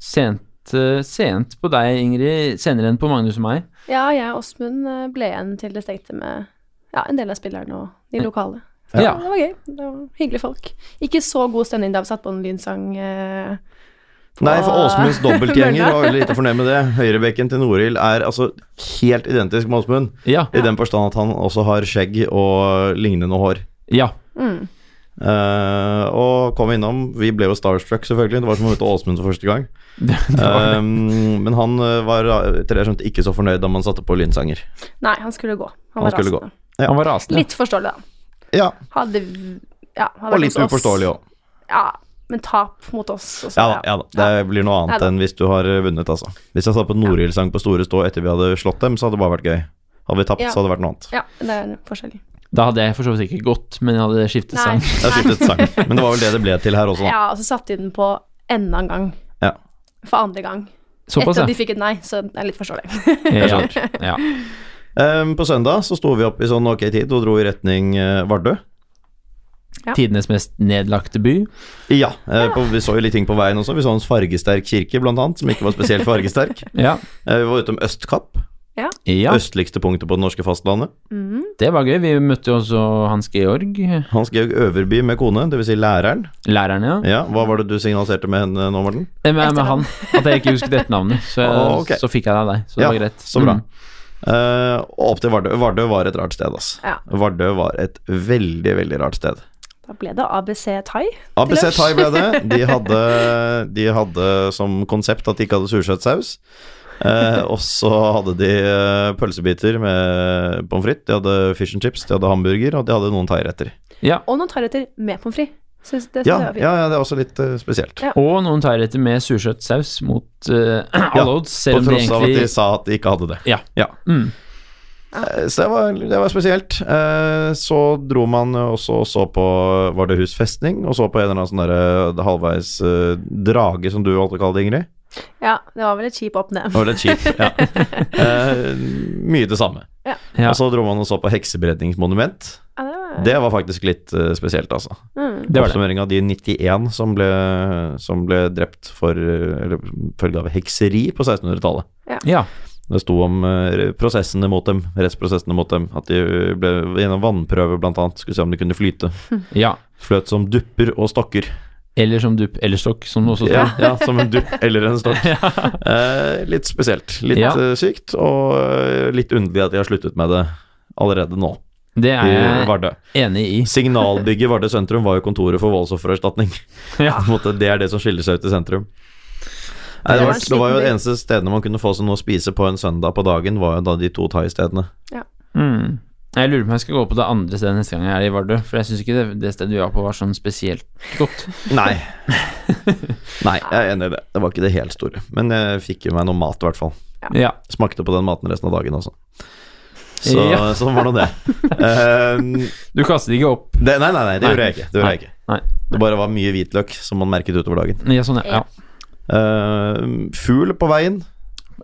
S1: Sent, eh, sent på deg, Ingrid. Senere enn på Magnus og meg.
S3: Ja, jeg og Åsmund eh, ble igjen til det stengte med ja, en del av spillerne og de lokale. Så
S1: Ja.
S3: det var gøy. Det var Hyggelige folk. Ikke så god stemning da vi satte på en lynsang. eh,
S2: Nei, for
S3: Åh.
S2: Åsmunds dobbeltgjenger var veldig lite fornøyd med det. Høyrebekken til Norild er altså helt identisk med Åsmund,
S1: Ja.
S2: i den forstand at han også har skjegg og lignende hår.
S1: ja.
S3: Mm.
S2: Eh, og kom innom. Vi ble jo starstruck, selvfølgelig. Det var som å møte Åsmund for første gang.
S1: Det, det var det.
S2: Eh, men han eh, var etter det jeg skjønte, ikke så fornøyd da man satte på lynsanger.
S3: Nei, han skulle gå.
S2: Han
S3: Han, var
S2: skulle
S3: rasende.
S2: ja.
S1: Han var rasende.
S3: Litt forståelig, da.
S2: Ja,
S3: Hadde v- ja,
S2: og
S3: hadde vært
S2: litt
S3: hos oss.
S2: uforståelig òg.
S3: Ja, men tap mot oss. og så-
S2: Ja da, ja da. Det blir noe
S3: Nei
S2: annet
S3: da.
S2: enn hvis du har eh, vunnet, altså. Hvis jeg satt på Norild-sang på Store Stå etter vi hadde slått dem, så hadde det bare vært gøy. Hadde vi tapt,
S3: Ja.
S2: så hadde det vært noe annet.
S3: Ja, det er en forskjell.
S1: Da hadde jeg for så vidt ikke gått, men jeg hadde skiftet
S3: Nei.
S1: sang.
S2: Jeg har skiftet sang, men det var vel det det ble til her også, da.
S3: Ja, og så satte de den på enda en gang.
S2: Ja.
S3: For andre gang.
S1: Såpass,
S3: Etter at de
S1: ja.
S3: fikk et nei, så det er litt forståelig.
S1: ja. ja.
S2: Ehm, på søndag så sto vi opp i sånn ok tid og dro i retning eh, Vardø.
S3: Ja.
S1: Tidenes mest nedlagte by.
S2: Ja, eh, på, vi så jo litt ting på veien også. Vi så en fargesterk kirke, blant annet, som ikke var spesielt fargesterk.
S1: Ja.
S2: Eh, vi var utom Østkapp,
S1: ja.
S2: østligste punktet på det norske fastlandet.
S1: Det var gøy. Vi møtte jo også Hans Georg,
S2: Hans Georg Øverby med kone, dvs. Si læreren.
S1: læreren, ja.
S2: Ja, Hva var det du signaliserte med henne nå, Morten?
S1: Eh, Med, med han. At jeg ikke husket etternavnet. Så,
S2: Å, Ah, ok.
S1: så fikk jeg det av deg. Så det
S2: Ja,
S1: var greit.
S2: så bra.
S1: Mm.
S2: Eh, og opp til Vardø. Vardø var et rart sted, ass.
S3: Ja.
S2: Vardø var et veldig, veldig rart sted.
S3: Da ble det ABC Thai.
S2: ABC
S3: lunsj.
S2: Thai ble det. De hadde, de hadde som konsept at de ikke hadde sursøtsaus. Eh, og så hadde de eh, pølsebiter med pommes frites, de hadde fish and chips, de hadde hamburger, og de hadde noen thairetter.
S1: Ja.
S3: Og noen tarretter med pommes frites. Synes- Det synes
S2: Ja,
S3: jeg var
S2: ja,
S3: fint.
S2: ja, det er også litt eh, spesielt.
S3: Ja.
S1: Og noen thairetter med sursøt saus mot eh,
S2: Ja,
S1: alle odds,
S2: På
S1: selv om de
S2: tross av at de
S1: egentlig
S2: sa at de ikke hadde det.
S1: Ja.
S2: ja.
S1: mm.
S2: Eh, Så det var, det var spesielt. Eh, Så dro man også og så på Var det Hus festning? Og så på en eller annen sånn derre halvveis eh, drage, som du alltid kaller det, Ingrid.
S3: Ja, det var vel et kjip opp ned.
S2: Det var litt kjipt. Ja. Eh, Mye det samme.
S1: ja.
S2: Og så dro man og så på heksebredningsmonument.
S3: Ja, det var,
S2: Det var faktisk litt eh, spesielt, altså.
S3: Mm.
S1: Det var det.
S2: Oppsummering av de 91 som ble, som ble drept for eh, Eller følge av hekseri på 1600-tallet.
S1: Ja.
S2: Det sto om eh, prosessene mot dem, rettsprosessene mot dem. At de ble gjennom vannprøve, blant annet. Skulle se om de kunne flyte.
S1: ja.
S2: Fløt som dupper og stokker.
S1: Eller som dupp eller stokk, som det også står.
S2: Ja, ja, som en dupp eller en stokk. Eh, litt spesielt. Litt
S1: Ja.
S2: eh, sykt, og eh, litt underlig at de har sluttet med det allerede nå,
S1: Det er
S2: i
S1: jeg
S2: Vardø.
S1: enig i.
S2: Signalbygget i Vardø sentrum var jo kontoret for voldsoffererstatning.
S1: Ja.
S2: På en måte, Det er det som skiller seg ut i sentrum. Nei, det,
S3: Det var
S2: var,
S3: en
S2: det var jo
S3: sliten by.
S2: det eneste stedene man kunne få seg noe å spise på en søndag på dagen, var jo da de to thaistedene.
S1: Mm. Jeg lurer på om jeg skal gå på det andre stedet neste gang jeg er i Vardø, for jeg syns ikke det, det stedet vi var på, var sånn spesielt godt.
S2: Nei. Nei, jeg er enig i det. Det var ikke det helt store. Men jeg fikk i meg noe mat, i hvert fall.
S1: Ja.
S2: Smakte på den maten resten av dagen også. Så
S1: Ja.
S2: sånn var nå det. Eh,
S1: Du kastet ikke opp?
S2: det. Nei, nei, nei, det
S1: Nei.
S2: gjorde jeg ikke. Det, gjorde jeg ikke.
S1: Nei.
S2: det bare var mye hvitløk som man merket utover dagen.
S1: Ja, sånn, ja. ja.
S2: Eh, fugl på veien.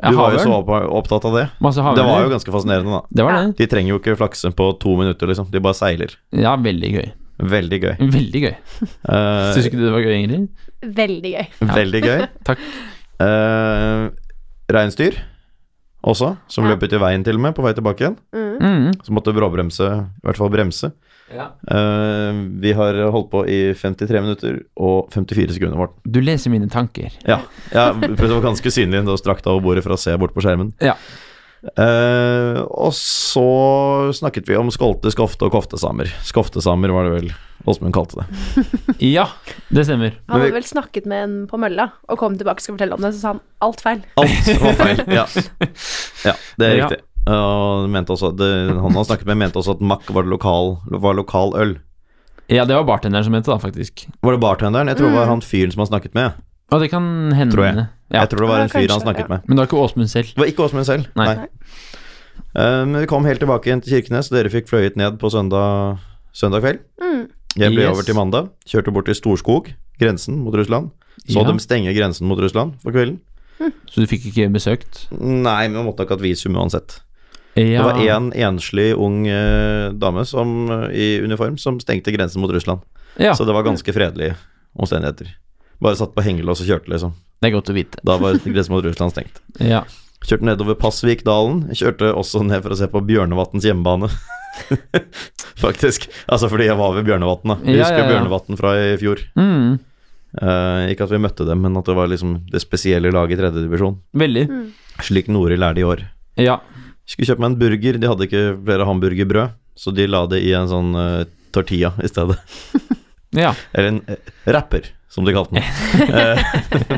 S1: ja
S2: Du var jo så
S1: havørn.
S2: opp- opptatt av det.
S1: Masse
S2: Det var jo
S1: havørn.
S2: ganske fascinerende, da.
S1: Det var det.
S2: De trenger jo ikke flakse på to minutter, liksom. De bare seiler.
S1: Ja, veldig gøy.
S2: Veldig gøy.
S1: Veldig gøy.
S2: Eh,
S1: Syns ikke du det var gøy, Ingrid?
S3: Veldig gøy.
S2: Veldig gøy.
S1: Takk.
S2: Eh, Reinsdyr også, som
S3: Ja.
S2: løp ut i veien til og med, på vei tilbake igjen.
S1: Mm.
S2: Så måtte bråbremse, i hvert fall bremse.
S1: Ja.
S2: Eh, vi har holdt på i 53 minutter og 54 sekunder, Morten.
S1: Du leser mine tanker.
S2: Ja, ja det var ganske synlig da strakk deg over bordet for å se bort på skjermen.
S1: Ja.
S2: Eh, og så snakket vi om skolte, skofte og koftesamer. Skoftesamer var det vel Åsmund kalte det.
S1: Ja, det stemmer.
S3: Han
S2: Men vi-
S3: hadde vel snakket med en på mølla og kom tilbake og skulle fortelle om det, så sa han alt feil.
S2: Alt var feil. Ja, ja det er
S1: Ja.
S2: riktig. Og han mente også, at det, han han snakket med, mente også at makk var lokal, var lokal øl.
S1: Ja, det var bartenderen som het det, da, faktisk.
S2: Var det bartenderen? Jeg tror det
S3: Mm.
S2: var han fyren som han snakket med.
S1: Og det kan hende.
S2: Tror jeg.
S1: Ja.
S2: Jeg tror det var
S3: Ja,
S2: en fyr han
S3: kanskje,
S2: snakket
S3: ja.
S2: med.
S1: Men det var ikke Åsmund selv.
S2: Det var ikke Åsmund selv.
S1: Nei.
S2: Eh, Men vi kom helt tilbake igjen til Kirkenes. Dere fikk fløyet ned på søndag, søndag kveld.
S3: Mm.
S2: Jeg ble
S1: Yes.
S2: over til mandag. Kjørte bort til Storskog, grensen mot Russland. Så
S1: Ja.
S2: dem stenge grensen mot Russland for kvelden.
S1: Så du fikk ikke besøkt?
S2: Nei, men man måtte ikke hatt visum uansett.
S1: Ja.
S2: Det var én en enslig ung eh, dame som, eh, i uniform som stengte grensen mot Russland.
S1: Ja,
S2: Så det var ganske fredelige omstendigheter. Bare satt på hengelås og kjørte, liksom.
S1: det er godt å vite.
S2: Da var grensen mot Russland stengt.
S1: Ja.
S2: Kjørte nedover Pasvikdalen. Kjørte også ned for å se på Bjørnevatns hjemmebane. Faktisk. Altså fordi jeg var ved Bjørnevatn, da. Jeg
S1: Ja,
S2: husker
S1: ja, ja.
S2: Bjørnevatn fra i fjor.
S1: Mm,
S2: Eh, ikke at vi møtte dem, men at det var liksom det spesielle laget i tredjedivisjon.
S1: veldig.
S2: Slik Nori lærte i år.
S1: Ja.
S2: Skulle kjøpe meg en burger, de hadde ikke flere hamburgerbrød, så de la det i en sånn eh, tortilla i stedet.
S1: ja.
S2: Eller en eh, rapper, som de kalte den.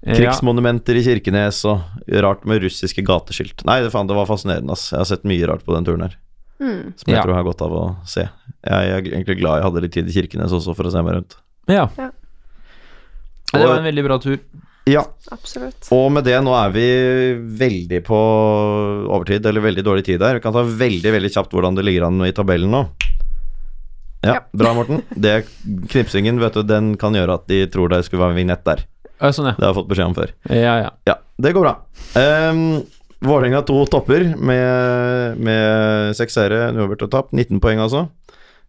S1: ja.
S2: Krigsmonumenter i Kirkenes og rart med russiske gateskilt. Nei, det, faen, det var fascinerende, ass. Jeg har sett mye rart på den turen her. Som jeg
S1: Ja.
S2: tror jeg har godt av å se. Jeg er egentlig glad jeg hadde litt tid i Kirkenes også, for å se meg rundt.
S1: Ja.
S3: Ja.
S1: Ja, Det var en veldig bra tur.
S2: Ja,
S3: Absolutt.
S2: Og med det, nå er vi veldig på overtid, eller veldig dårlig tid her. Vi kan ta veldig veldig kjapt hvordan det ligger an i tabellen nå. Ja,
S3: Ja.
S2: bra, Morten. Det knipsingen, vet du, den kan gjøre at de tror det skulle være en vignett der.
S1: Ja, sånn, ja.
S2: Det har jeg fått beskjed om før.
S1: Ja, ja.
S2: Ja, det går bra. Um, Vålerenga to topper med, med seks seire, en uavgjort og tap. 19 poeng, altså.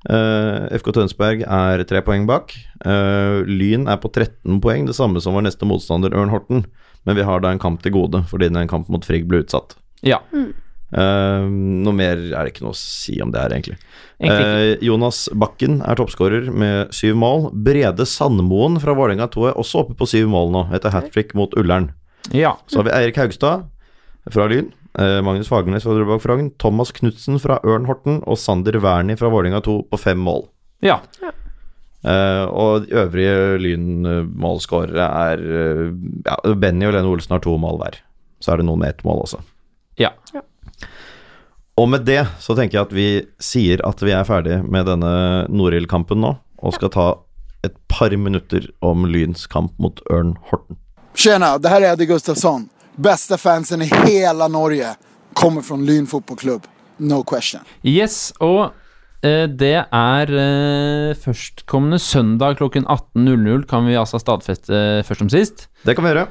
S2: Eh, FK Tønsberg er tre poeng bak. Eh, Lyn er på 13 poeng, det samme som vår neste motstander Ørn Horten. Men vi har da en kamp til gode, fordi den kamp mot Frigg ble utsatt.
S1: ja.
S2: Eh, noe mer er det ikke noe å si om det her, egentlig.
S1: Egentlig
S2: Eh, Jonas Bakken er toppskårer med syv mål. Brede Sandmoen fra Vålerenga 2 er også oppe på syv mål nå, etter hat trick mot Ullern.
S1: Ja.
S2: Så har vi Eirik Haugstad fra Lyn, eh, Magnus Fagernes fra Drøbak Frogn, Thomas Knutsen fra Ørn Horten og Sander Wernie fra Vålerenga 2 på fem mål.
S1: Ja.
S2: Eh, og de øvrige Lyn-målskårere er eh, ja, Benny og Lene Olsen har to mål hver. Så er det noen med ett mål også.
S1: Ja.
S2: Og med det så tenker jeg at vi sier at vi er ferdig med denne Norild-kampen nå, og skal ta et par minutter om Lyns kamp mot Ørn Horten.
S7: Tjena, det här är Eddie Gustafsson. Bästa fansen i hela Norge. Kommer från Lyn fotbollklubb. No question.
S1: Yes, og eh, det er eh, førstkommende søndag klokken 18.00 kan vi altså stadfeste først som sist.
S2: Det kan vi gjøre.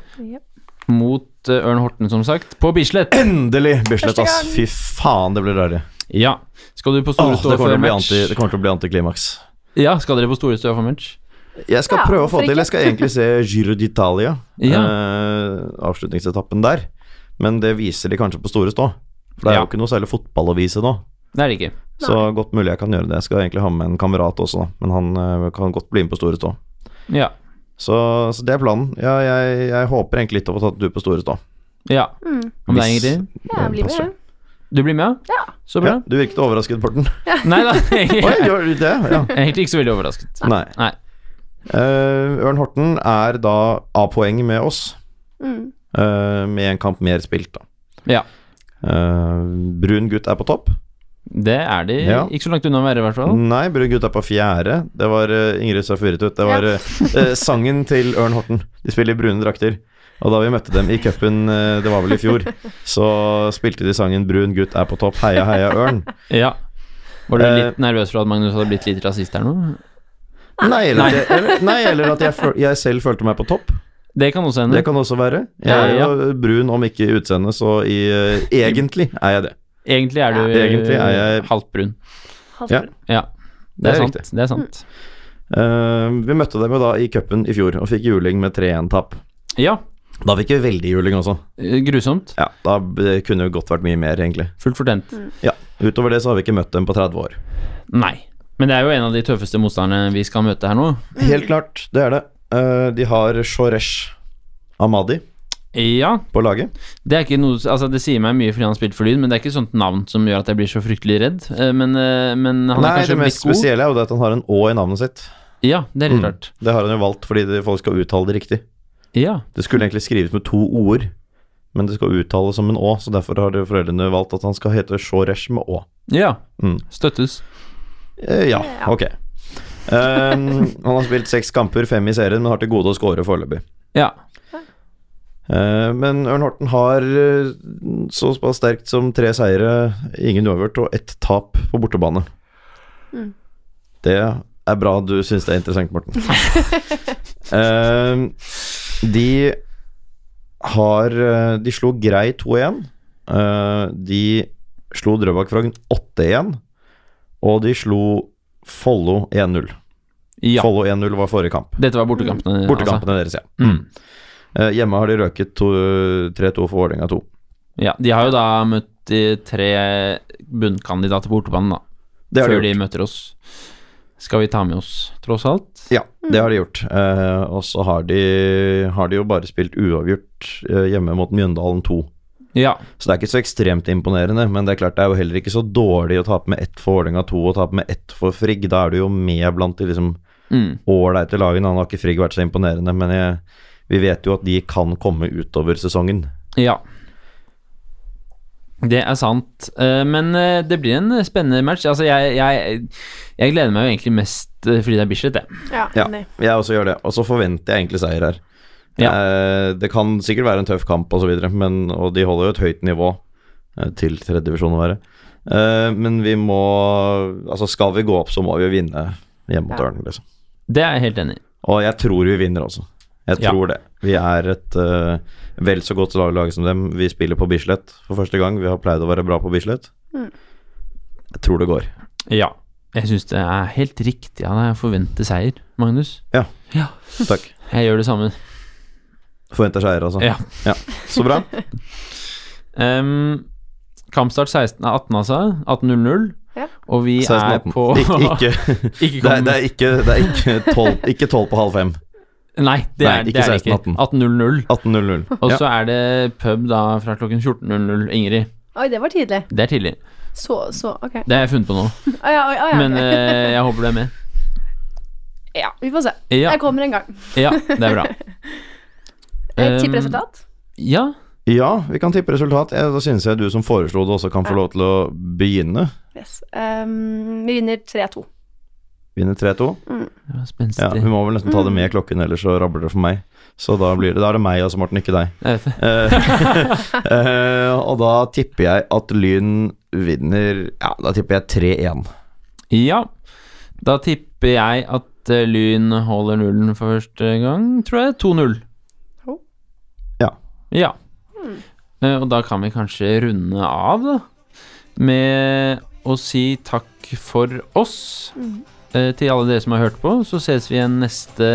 S1: Mot eh, Ørn Horten, som sagt, på Bislett.
S2: Endelig, Bislett,
S3: Første
S2: ass.
S3: gang.
S2: Fy faen, det blir deilig.
S1: Ja. Skal du på
S2: Åh,
S1: Store
S2: det,
S1: Stå
S2: kommer
S1: for
S2: til å bli
S1: match?
S2: anti, det kommer til å bli antiklimaks.
S1: Ja, skal dere på Store Stå for match?
S2: Jeg skal
S3: Ja,
S2: prøve å få
S3: hvorfor
S2: til
S3: ikke?
S2: Jeg skal egentlig se Giro d'Italia,
S1: Ja.
S2: eh, avslutningsetappen der. Men det viser de kanskje på store stå. For det er
S1: Ja.
S2: jo ikke noe særlig fotball å vise nå.
S1: Det er det ikke.
S2: Så godt mulig jeg kan gjøre det. Jeg skal egentlig ha med en kamerat også, da. Men han eh, kan godt bli med på store stå.
S1: Ja.
S2: Så, så det er planen. Ja, jeg, jeg håper egentlig litt på å ta en tur på store stå.
S1: ja. Om det er Ingrid?
S3: Ja, jeg blir
S2: passer.
S3: med.
S1: Du blir med, ja? Så
S2: Ja,
S1: bra.
S2: du virket overrasket, Morten.
S1: Nei da,
S2: Oi,
S1: jeg
S2: gjør du det? Ja.
S1: er egentlig ikke så veldig overrasket.
S2: Nei.
S1: Nei.
S2: Eh, Ørn Horten er da A-poeng med oss. Eh, med en kamp mer spilt, da.
S1: Ja.
S2: Eh, brun gutt er på topp.
S1: Det er de
S2: Ja. Mm.
S1: ikke så langt unna å være, i hvert fall.
S2: Nei, Brun gutt er på fjerde. Det var eh, Ingrid Safuret ut. Det var eh,
S3: Ja.
S2: eh, sangen til Ørn Horten. De spiller i brune drakter. Og da vi møtte dem i cupen, eh, det var vel i fjor, så spilte de sangen 'Brun gutt er på topp', heia heia Ørn.
S1: Ja. Var du
S2: Eh.
S1: litt nervøs for at Magnus hadde blitt litt rasist her nå?
S2: Nei, eller, at jeg- eller, nei, eller at jeg, føl- jeg selv følte meg på topp.
S1: Det kan også hende.
S2: Det kan også være. Jeg
S1: Ja,
S2: er
S1: ja.
S2: jo brun, om ikke i utseendet, så i, eh, egentlig er jeg det.
S1: Egentlig er du
S2: Egentlig er jeg-
S1: halvt brun.
S3: Halvt
S2: Ja.
S3: minutt.
S1: Ja. Det,
S2: Det er
S1: er sant.
S2: riktig.
S1: Det er sant.
S2: Eh, vi møtte dem jo da i cupen i fjor og fikk juling med 3-1-tap.
S1: Ja.
S2: Da fikk vi veldig juling også.
S1: eh, Grusomt.
S2: Ja, Da b- kunne det godt vært mye mer, egentlig.
S1: Fullt fortjent.
S2: Ja, Utover det så har vi ikke møtt dem på 30 år.
S1: Nei. Men det er jo en av de tøffeste motstanderne vi skal møte her nå.
S2: Helt klart, det er det. Eh, de har Shoresh Amadi
S1: Ja.
S2: på laget.
S1: Det er ikke noe Altså, det sier meg mye fordi han har spilt for Lyn, men det er ikke sånt navn som gjør at jeg blir så fryktelig redd. Eh, Men, eh, men han
S2: Nei,
S1: er
S2: det
S1: kanskje blitt
S2: mest
S1: god.
S2: spesielle er jo det at han har en Å i navnet sitt.
S1: Ja, det
S2: Mm.
S1: er litt rart.
S2: Det har han jo valgt fordi det- folk skal uttale det riktig.
S1: Ja.
S2: Det skulle egentlig skrives med to ord, men det skal uttales som en Å, så derfor har det foreldrene valgt at han skal hete Shoresh med Å.
S1: Ja.
S2: Mm.
S1: Støttes.
S2: Eh, ja,
S3: Ja.
S2: ok. Ehm, han har spilt seks kamper, fem i serien, men har til gode å score foreløpig.
S1: Ja.
S2: Eh, Men Ørn Horten har eh, såpass sterkt som tre seire, ingen uavgjort og ett tap på bortebane. Det er bra du syns det er interessant, Morten. Eh, de har eh, De slo Grei 2-1. Eh, de slo Drøbak Frogn 8-1. Og de slo Follo 1-0.
S1: ja.
S2: Follo 1-0 var forrige kamp.
S1: Dette var eh, bortekampene.
S2: Bortekampene deres, ja.
S1: Mm.
S2: Eh, hjemme har de røket to- 3-2 for Vålerenga 2.
S1: Altså. Ja, de har jo da møtt de tre bunnkandidater på bortebanen, da.
S2: Det har
S1: før
S2: de
S1: de
S2: gjort.
S1: møter oss. Skal vi ta med oss, tross alt?
S2: Ja,
S1: Mm.
S2: det har de gjort. Eh, og så har de, har de jo bare spilt uavgjort eh, hjemme mot Mjøndalen 2.
S1: Ja.
S2: Så det er ikke så ekstremt imponerende, men det er klart det er jo heller ikke så dårlig å tape med ett for Vålerenga 2 og tape med ett for Frigg. Da er du jo med blant de liksom
S1: Mm.
S2: ålreite lagene. Han har ikke Frigg vært så imponerende, men jeg, vi vet jo at de kan komme utover sesongen.
S1: Ja. Det er sant. Eh, Men eh, det blir en spennende match. Altså, jeg, jeg, jeg gleder meg jo egentlig mest eh, fordi det er Bislett, jeg.
S3: Ja,
S2: Ja,
S3: enig.
S2: jeg også gjør det. Og så forventer jeg egentlig seier her.
S1: Ja.
S2: Eh, Det kan sikkert være en tøff kamp og så videre, men, og de holder jo et høyt nivå eh, til tredje divisjon å være. Eh, Men vi må Altså, skal vi gå opp, så må vi jo vinne hjemme mot
S3: Ja.
S2: Ørn, liksom.
S1: Det er jeg helt enig i.
S2: Og jeg tror vi vinner også. Jeg
S1: Ja.
S2: tror det. Vi er et eh, vel så godt lag lag som dem. Vi spiller på Bislett for første gang. Vi har pleid å være bra på Bislett.
S3: Mm.
S2: Jeg tror det går.
S1: Ja. Jeg syns det er helt riktig av deg å forvente seier, Magnus.
S2: Ja.
S1: Ja.
S2: Takk.
S1: Jeg gjør det samme.
S2: Forventer seier, altså.
S1: Ja.
S2: Så bra.
S1: Ehm, kampstart 16 er 18, altså. 18.00.
S3: Ja.
S1: Og vi er
S2: 16-18.
S1: på
S2: Ikke, ikke,
S1: Ikke
S2: Det er,
S1: kom-
S2: det er ikke, det er ikke, 12, ikke 12 på halv fem.
S1: Nei, det
S2: Nei,
S1: er
S2: ikke
S1: det er det ikke.
S2: 16-18.
S1: 18.00.
S2: 18.00.
S1: Og
S2: Ja.
S1: så er det pub da fra klokken 14.00. Ingrid,
S3: Oi, det var tidlig.
S1: det er tidlig.
S3: Så, så, ok.
S1: Det har jeg funnet på nå,
S3: Å ja, oi, å ja,
S1: men
S3: ok.
S1: eh, jeg håper du er med.
S3: ja, vi får se.
S1: Ja,
S3: Jeg kommer en gang.
S1: ja det er bra.
S3: Jeg
S1: Um,
S3: tipper Eh, resultat.
S1: Ja,
S2: ja, vi kan tippe resultat. Eh, Da synes jeg du som foreslo det, også kan få lov til å begynne.
S3: Yes. Um, vi vinner 3-2.
S2: Vinne 3-2.
S1: det var
S2: Ja,
S1: spenstig.
S2: vi må vel nesten ta det med klokken, ellers så rabler det for meg. Så da, blir det, da er det meg, altså, Morten, ikke deg.
S1: Jeg vet det.
S2: Eh, eh, og da tipper jeg at Lyn vinner Ja, da tipper jeg 3-1.
S1: Ja, da tipper jeg at eh, Lyn holder nullen for første gang, tror jeg. 2-0.
S3: Oh.
S2: Ja.
S1: Ja. Eh, Og da kan vi kanskje runde av, da, med å si takk for oss eh, til alle dere som har hørt på. Så ses vi igjen neste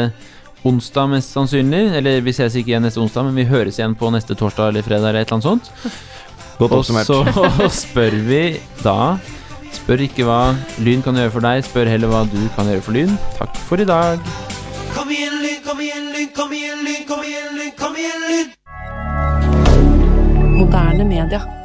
S1: onsdag, mest sannsynlig. Eller vi ses ikke igjen neste onsdag, men vi høres igjen på neste torsdag eller fredag eller et eller annet sånt.
S2: Godt
S1: Og
S2: oppsummert.
S1: så spør vi da Spør ikke hva Lyn kan gjøre for deg, spør heller hva du kan gjøre for Lyn. Takk for i dag.
S8: Kom igjen, Lyn, kom igjen, Lyn, kom igjen, Lyn, kom igjen, Lyn, kom igjen, Lyn!
S9: Moderne media.